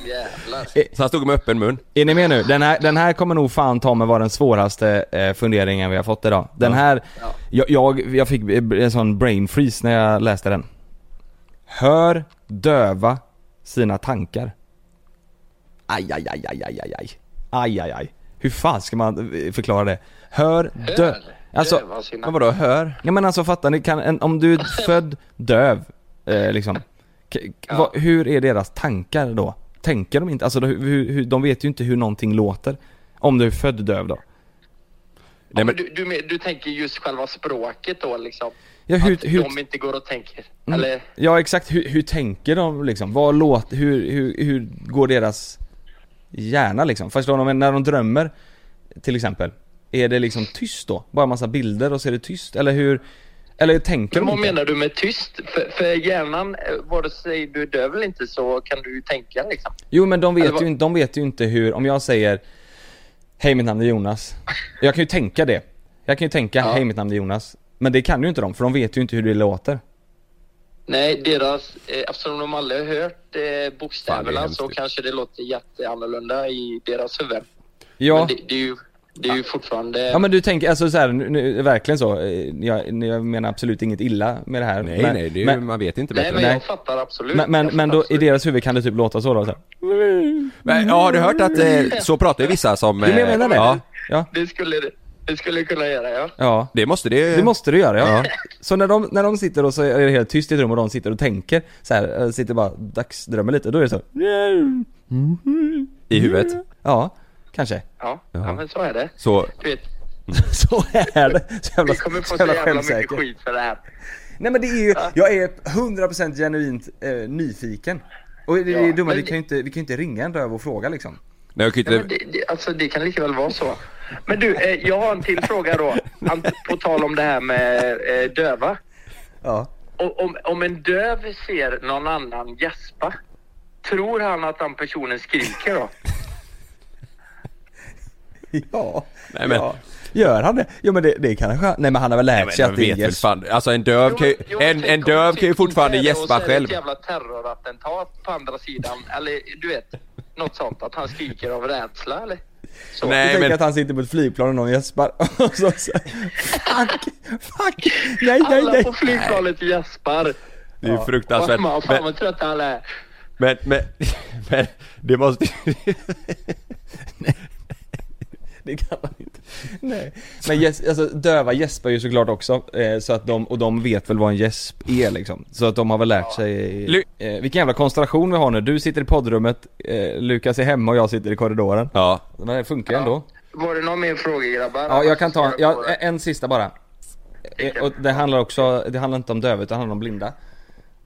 K: Jävlar.
F: Så han stod med öppen mun.
G: Eh, Är ni med nu? Den här, den här kommer nog fan ta mig vara den svåraste eh, funderingen vi har fått idag. Den här, jag, jag, jag fick en sån brain freeze när jag läste den. Hör döva sina tankar. Aj, aj, aj, aj, aj, aj, aj. Aj, aj, aj. Hur fan ska man eh, förklara det? Hör dö... Alltså,
K: Döva sina-
G: men vadå hör? Ja men alltså fattar ni, kan en, om du är född döv, eh, liksom. K- k- vad, hur är deras tankar då? Tänker de inte, alltså hur, hur, hur- de vet ju inte hur någonting låter. Om du är född döv då.
F: Nej, men,
K: Du, du, men- du tänker just själva språket då liksom?
G: Ja, hur-
K: att
G: hur-
K: de inte går och tänker?
G: Mm.
K: Eller?
G: Ja exakt, hur, hur tänker de liksom? Vad låter, hur, hur, hur går deras hjärna liksom? Förstår de, när de drömmer till exempel, är det liksom tyst då? Bara massa bilder och så är det tyst? Eller hur, eller tänker
K: Men
G: de
K: vad
G: inte?
K: menar du med tyst? För, för hjärnan, eh, vare sig du är döv eller inte så kan du ju tänka liksom.
G: Jo men de vet, ju, inte- de vet ju inte hur, om jag säger Hej mitt namn är Jonas. Jag kan ju tänka det. Jag kan ju tänka hej mitt namn är Jonas. Men det kan ju inte de för de vet ju inte hur det låter.
K: Nej, deras, eh, eftersom de aldrig har hört eh, bokstäverna
F: hemskt.
K: så kanske det låter jätteannorlunda i deras huvud.
G: Ja.
K: Men det, det är ju, det är ju fortfarande...
G: Ja men du tänker, alltså så här, nu, nu, verkligen så. Eh, Jag, jag menar absolut inget illa med det här.
F: nej,
G: men,
F: nej, det är ju,
G: men-
F: man vet inte
K: Nej,
F: bättre.
K: men jag fattar absolut.
G: Men, men, men då, i deras huvud kan det typ låta så då? Så här.
F: Men, ja, har du hört att
K: Mm.
F: eh, så pratar ju vissa som...
G: Jo, men jag
F: eh,
G: menar det.
F: Ja,
G: Ja.
K: Det skulle det, det skulle kunna göra, ja.
G: ja.
F: det måste det ju...
G: Det måste du göra ja. Så när de, när de sitter och så är det helt tyst i ett rum och de sitter och tänker så här, eh, sitter bara dagsdrömmer lite, då är det så.
F: I huvudet.
G: Ja, kanske.
K: Ja, ja men så är det.
F: Så...
K: Du vet,
G: så är det. Så jävla,
K: vi kommer
G: så
K: få så
G: jävla
K: jävla mycket
G: självsäker.
K: skit för det här.
G: Nej men det är ju, jag är 100% genuint eh, nyfiken. Och det, det är
K: Ja,
G: dumma,
K: men
G: vi kan ju inte, vi kan ju inte ringa en röv och fråga liksom.
F: Nej, jag kan ju
K: Ja,
F: inte...
K: men det, det, alltså det kan lika väl vara så. Men du, eh, jag har en till fråga då. Ant- På tal om det här med eh, döva.
G: Ja.
K: O- Om, om en döv ser någon annan gäspa, tror han att den personen skriker då?
G: Ja.
F: Nej, men-
G: ja. Gör han det? Jo men det, det kan han Nej men han har väl lärt sig
F: Jag
G: att det är
F: vet väl
G: gäsp.
F: fan, alltså en döv kan ju, en, en döv
K: typ
F: kan ju fortfarande gäspa
K: Det är
F: själv.
K: ett jävla terrorattentat på andra sidan. Eller du vet, något sånt. Att han skriker av rädsla eller? Så.
G: Du
F: Nej
G: tänker
F: men,
G: att han sitter på ett flygplan och någon gäspar och så, så Fuck! Fuck! Nej nej
K: Alla
G: nej!
K: på flygplanet gäspar.
F: det är ju fruktansvärt.
K: Mamma, fan
F: Men,
K: vad trött alla är.
F: men, men, men det måste
G: Det kan han inte. Nej. Men gäs- alltså, döva gäspar ju såklart också, eh, så att de, och de vet väl vad en gäsp är liksom. Så att de har väl lärt sig...
F: Lu-
G: Eh, vilken jävla konstellation vi har nu. Du sitter i poddrummet, eh, Lukas är hemma och jag sitter i korridoren.
F: Ja.
G: Men det funkar ju ändå.
K: Var det någon mer fråga grabbar?
G: Ja, jag kan ta en, ja, en sista bara. Eh, och det handlar också, det handlar inte om döva utan det handlar om blinda.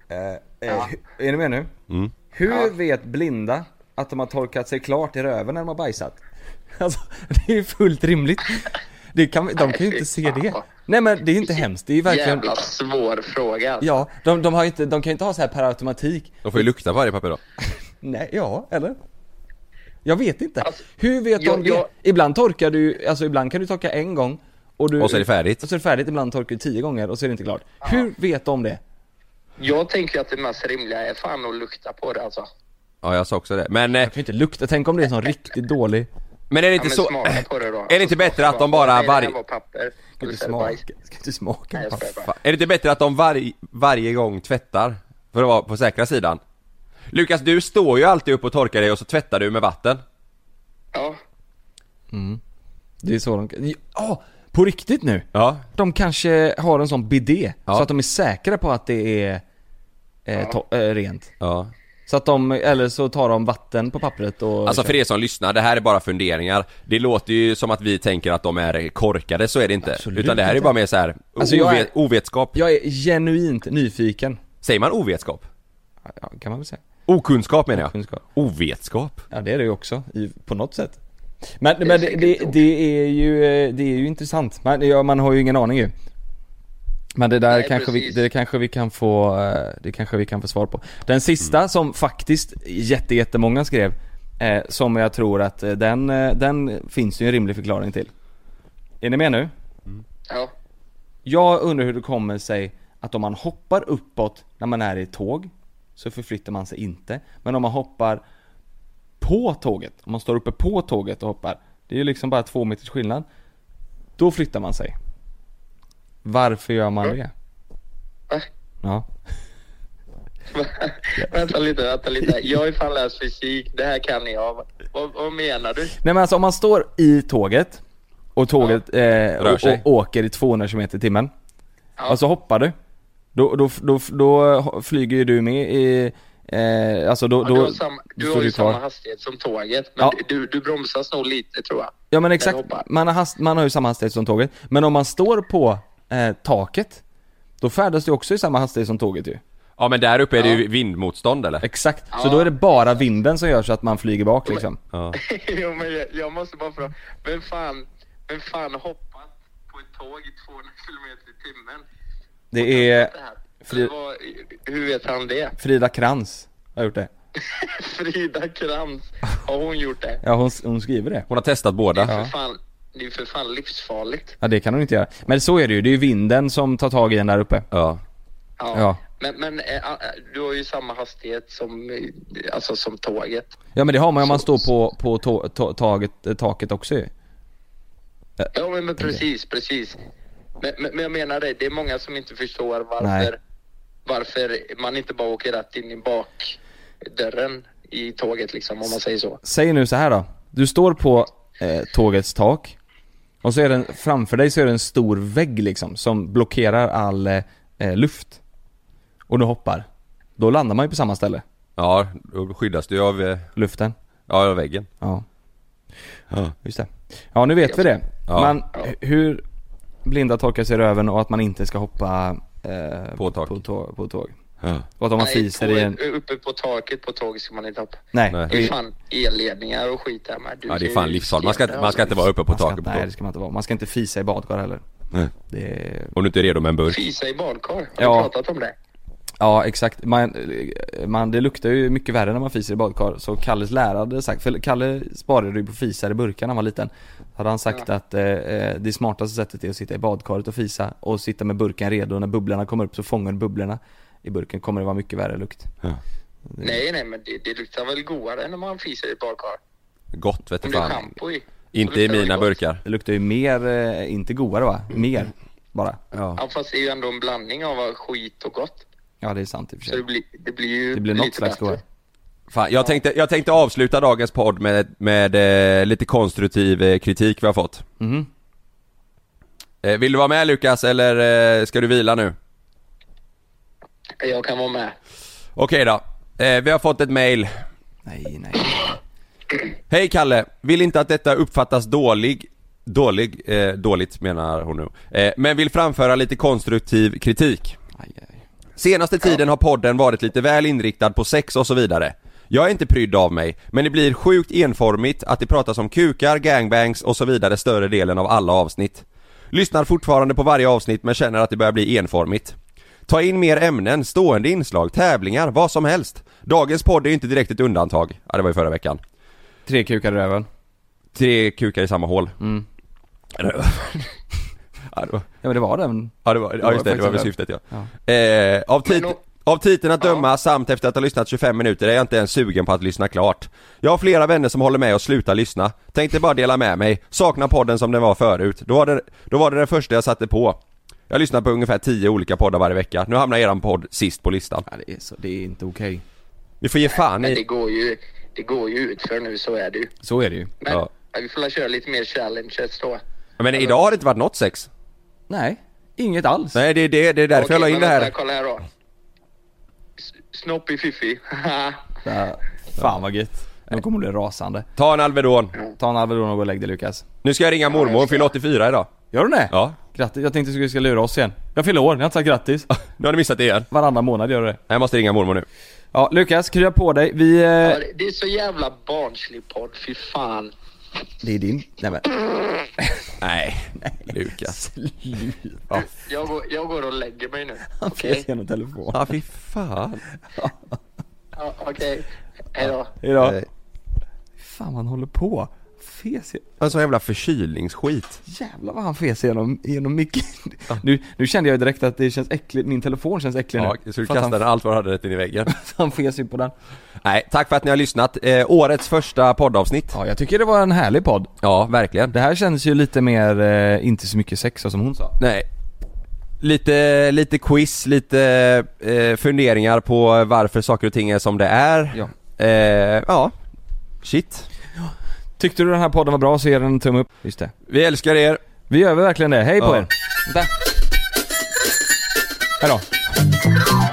G: Eh, eh, hu- Är ni med nu?
F: Mm.
G: Hur vet blinda att de har torkat sig klart i röven när de har bajsat? Alltså, det är ju fullt rimligt. Det kan, de kan ju inte se det. Nej men det är ju inte hemskt, det är ju verkligen...
K: Jävla svår fråga. alltså.
G: Ja, de, de, har ju inte, de kan ju inte ha så här per automatik.
F: De får ju lukta på varje papper då.
G: Nej, ja, eller? Jag vet inte. Hur vet
K: Alltså, jag-
G: de det?
K: jag-
G: Ibland torkar du, alltså ibland kan du torka en gång och, du,
F: Och så är det färdigt.
G: Och så är det färdigt, ibland torkar du tio gånger och så är det inte klart. Hur vet de det?
K: Jag tänker att det mest rimliga är fan att lukta på det alltså.
F: Ja jag sa också det. Men, eh,
G: Jag kan ju inte lukta, tänk om det är en sån riktigt dålig...
F: men är
K: Ja,
F: det inte
K: men Alltså,
F: så...
K: smaka på det då.
F: Är det inte bättre att de bara
K: Nej, det här
F: varje...
K: var papper.
G: Ska inte
K: Istället
G: smaka,
K: bajs.
G: ska inte smaka.
K: Nej, jag skojar bara.
F: Fan, Är det inte bättre att de varje, varje gång tvättar? För att vara på säkra sidan. Lukas, du står ju alltid upp och torkar dig och så tvättar du med vatten.
K: Ja.
G: Mm. Det är så de kan... Ja, på riktigt nu!
F: Ja.
G: De kanske har en sån bidé,
F: Ja.
G: så att de är säkra på att det är eh, to- eh, rent.
F: Ja.
G: Så att de, eller så tar de vatten på pappret och...
F: Alltså för er som lyssnar, det här är bara funderingar. Det låter ju som att vi tänker att de är korkade, så är det inte.
G: Absolut
F: Utan det här är
G: inte.
F: bara mer så här,
G: Alltså, jag
F: ove-
G: är-
F: ovetskap.
G: Jag är genuint nyfiken.
F: Säger man ovetskap?
G: Ja, kan man väl säga.
F: Okunskap menar jag.
G: Okunskap.
F: Ovetskap.
G: Ja det är det ju också, i, på något sätt. Men, men det, det, det, är ju, eh, det är ju intressant. Man, ja, man har ju ingen aning ju. Men det där
K: Nej,
G: kanske, vi,
K: precis.
G: det kanske vi kan få, eh, det kanske vi kan få svar på. Den sista som faktiskt jätte, jättemånga skrev, eh, som jag tror att eh, den, eh, den finns ju en rimlig förklaring till. Är ni med nu?
K: Ja.
G: Jag undrar hur det kommer sig att om man hoppar uppåt när man är i ett tåg så förflyttar man sig inte. Men om man hoppar på tåget, om man står uppe på tåget och hoppar, det är ju liksom bara två meters skillnad. Då flyttar man sig. Varför gör man det?
K: Va?
G: Ja.
K: vänta lite, vänta lite. Jag har ju fan läst fysik. Det här kan jag. Vad, vad menar du?
G: Nej men alltså om man står i tåget och tåget eh,
K: Rör
G: och, och
K: sig.
G: åker i 200 km i timmen och så hoppar du då, då, då, då flyger ju du med i, eh, alltså då,
K: Ja,
G: då
K: du har, samma, du
G: står
K: har ju
G: kvar.
K: samma hastighet som tåget, men
G: Ja.
K: du, du bromsas nog lite tror jag.
G: Ja men
K: När du
G: exakt,
K: hoppar.
G: man har, hast, man har ju samma hastighet som tåget Men om man står på eh, taket Då färdas du också i samma hastighet som tåget ju
F: Ja men där uppe är det ju vindmotstånd eller?
G: Exakt, så då är det bara vinden som gör så att man flyger bak liksom
F: Ja.
K: jo, men jag, jag måste bara fråga, vem fan, vem fan hoppat på ett tåg i 200 kilometer i timmen?
G: Det är
K: Det
G: Fri,
K: var, hur vet han det?
G: Frida Krantz har gjort det
K: Frida Krantz, har hon gjort det?
G: Ja hon, hon skriver det
F: Hon har testat båda
K: För fan, det är för fan livsfarligt.
G: Ja det kan hon inte göra. Men så är det ju, det är ju vinden som tar tag i en där uppe.
F: Ja.
K: Ja.
G: Ja,
K: Men, men eh, ah, eh, du har ju samma hastighet som, eh, alltså, som tåget.
G: ja men det har man ju om man står på, på to, to, taget, eh, taket också ju. Eh,
K: Ja men, men precis, precis. Men, men, men jag menar det, det är många som inte förstår
G: Nej.
K: varför, varför man inte bara åker rätt in i bakdörren i tåget liksom om man säger så.
G: Säg nu så här då. Du står på eh, tågets tak. Och så är den, framför dig så är det en stor vägg liksom som blockerar all eh, eh, luft. Och du hoppar. Då landar man ju på samma ställe.
F: Ja, då skyddas du ju av... eh,
G: Luften.
F: Ja, av väggen.
G: Ja. Just det. Ja nu vet vi det.
F: Ja.
G: Men hur blinda torkar sig i röven och att man inte ska hoppa eh, på, tåg. På, tå- på tåg. Och att om man
K: Nej,
G: fiser
K: på,
G: i en...
K: Uppe på taket på tåget ska man inte hoppa.
G: Nej.
K: Det är fan elledningar och skit där med. Du
F: Ja, det är
K: ser
F: fan
K: ju
F: livsfarligt. Man ska inte- man ska inte vara uppe på
G: Man ska
F: taket på
G: inte- Nej
F: tåg.
G: det ska man inte vara. Man ska inte fisa i badkar heller. Det är...
F: Om du inte är redo med en burk.
K: Fisa i badkar, har
G: Ja.
K: ja. pratat om det?
G: Ja exakt. Man, man, det luktar ju mycket värre när man fiser i badkar. Så Kalles lärare hade sagt, för Kalle sparade ju på fisar i burkar när han var liten. Hade han sagt att eh, eh, det smartaste sättet är att sitta i badkaret och fisa och sitta med burken redo. När bubblorna kommer upp så fångar du bubblorna i burken. Kommer det vara mycket värre lukt.
K: Nej nej men det, det luktar väl godare när man fiser i badkar?
F: Gott vet
K: Om
F: du
K: det är
F: fan.
K: schampo i.
F: Inte i mina burkar.
G: Det luktar ju mer, eh, inte godare va? Mer. Bara.
K: Ja fast det är ju ändå en blandning av skit och gott.
G: Ja det är sant i och för
K: Så det
G: sig.
K: blir, det blir ju
G: Det blir något
K: lite
G: slags
K: bättre.
G: godare.
F: Fan, jag tänkte, jag tänkte avsluta dagens podd med, med eh, lite konstruktiv eh, kritik vi har fått.
G: Mhm.
F: Eh, vill du vara med Lukas eller eh, ska du vila nu?
K: Jag kan vara med.
F: Okej då. Eh, vi har fått ett mail.
G: Nej, nej.
F: Hej Kalle! Vill inte att detta uppfattas dålig, dålig, eh, dåligt menar hon nu. Eh, men vill framföra lite konstruktiv kritik. Senaste tiden har podden varit lite väl inriktad på sex och så vidare. Jag är inte prydd av mig, men det blir sjukt enformigt att det pratas om kukar, gangbangs och så vidare större delen av alla avsnitt. Lyssnar fortfarande på varje avsnitt men känner att det börjar bli enformigt. Ta in mer ämnen, stående inslag, tävlingar, vad som helst. Dagens podd är ju inte direkt ett undantag. Ja, det var ju förra veckan.
G: Tre kukar i röven.
F: Tre kukar i samma hål.
G: Mm.
F: Eller- ja, det var-
G: Ja men det var den.
F: Ja, det var, ja just det, det var väl
G: faktiskt
F: syftet ja. Eh, av, tit- av titeln att döma samt efter att ha lyssnat 25 minuter är jag inte ens sugen på att lyssna klart. Jag har flera vänner som håller med och slutar lyssna. Tänkte bara dela med mig, saknar podden som den var förut. Då var det, då var det den första jag satte på. Jag lyssnar på ungefär 10 olika poddar varje vecka. Nu hamnar eran podd sist på listan.
G: Ja, det, är så, det är inte okej.
F: Vi får ge fan
K: Men det
F: i...
K: går ju, det går ju ut för nu, så är det ju.
G: Så är det ju.
K: Men
F: Ja.
K: vi får väl köra lite mer challenges då.
F: Men idag har det inte varit något sex.
G: Nej, inget alls.
F: Nej det är det, det är därför jag la in det
K: men
F: här.
K: vänta, kolla här då. S- Snoppy Fiffi.
G: Ja, fan vad gött. Nu kommer du bli rasande.
F: Ta en Alvedon.
G: Ta en Alvedon och gå och lägg dig Lukas.
F: Nu ska jag ringa mormor, hon fyller 84 idag.
G: Gör du det?
F: Ja.
G: Grattis, jag tänkte att du skulle lura oss igen. Jag fyller år, ni har inte sagt grattis.
F: Nu har ni missat det igen.
G: Varannan månad gör du det.
F: Jag måste ringa mormor nu.
G: Ja, Lukas, krya på dig. Vi... Eh,
K: Ja, det- det är så jävla barnslig podd, fy fan.
G: Det är din. Nej men.
F: Nej, Lukas.
G: Ja,
K: Jag går, jag går och lägger mig nu.
G: Han
K: Okej?
G: fes genom telefon.
F: Ja, fy fan.
K: Ja, Okej, hejdå.
G: Hejdå. Fan vad han håller på.
J: fes i-
F: En sån jävla förkylningsskit.
J: Jävlar vad han fes genom, genom micken. Nu, nu kände jag direkt att det känns äckligt, min telefon känns äcklig
F: Ja,
J: nu.
F: jag skulle
J: För att
F: kasta
J: han-
F: den allt vad du hade rätt in i väggen.
J: Han fes ju på den.
F: Nej, tack för att ni har lyssnat. Eh, årets första poddavsnitt.
J: Ja, jag tycker det var en härlig podd.
F: Ja, verkligen.
J: Det här känns ju lite mer, eh, inte så mycket sex så som hon sa.
F: Nej. Lite, lite quiz, lite eh, funderingar på varför saker och ting är som det är.
J: Ja.
F: Eh, ja. Shit.
J: Tyckte du den här podden var bra så ger den en tumme upp. Just det.
F: Vi älskar er.
J: Vi gör väl verkligen det. Hej på
F: Ja.
J: er. Vänta. Hej då.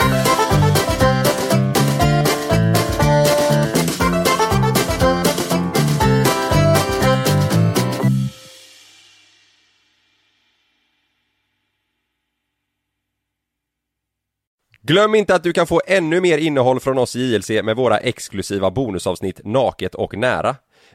F: Glöm inte att du kan få ännu mer innehåll från oss i JLC med våra exklusiva bonusavsnitt Naket och nära.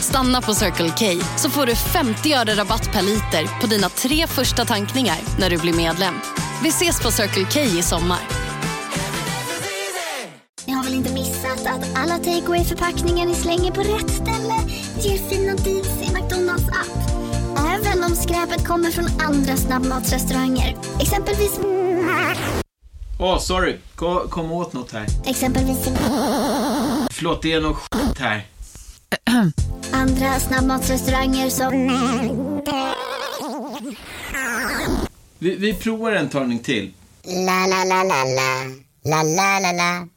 L: Stanna på Circle K så får du 50 öre rabatt per liter på dina tre första tankningar när du blir medlem. Vi ses på Circle K i sommar.
I: Ni har väl inte missat att alla takeaway förpackningar ni slänger på rätt ställe ger fina deals i McDonalds app. Även om skräpet kommer från andra snabbmatsrestauranger. Exempelvis...
M: Åh, sorry. Kom, kom åt något här.
I: Exempelvis...
M: Förlåt, det är något skit här.
I: Andra snabbmatsrestauranger som...
M: Vi, vi provar en talning till.
I: La, la, la, la, la. La, la, la, la.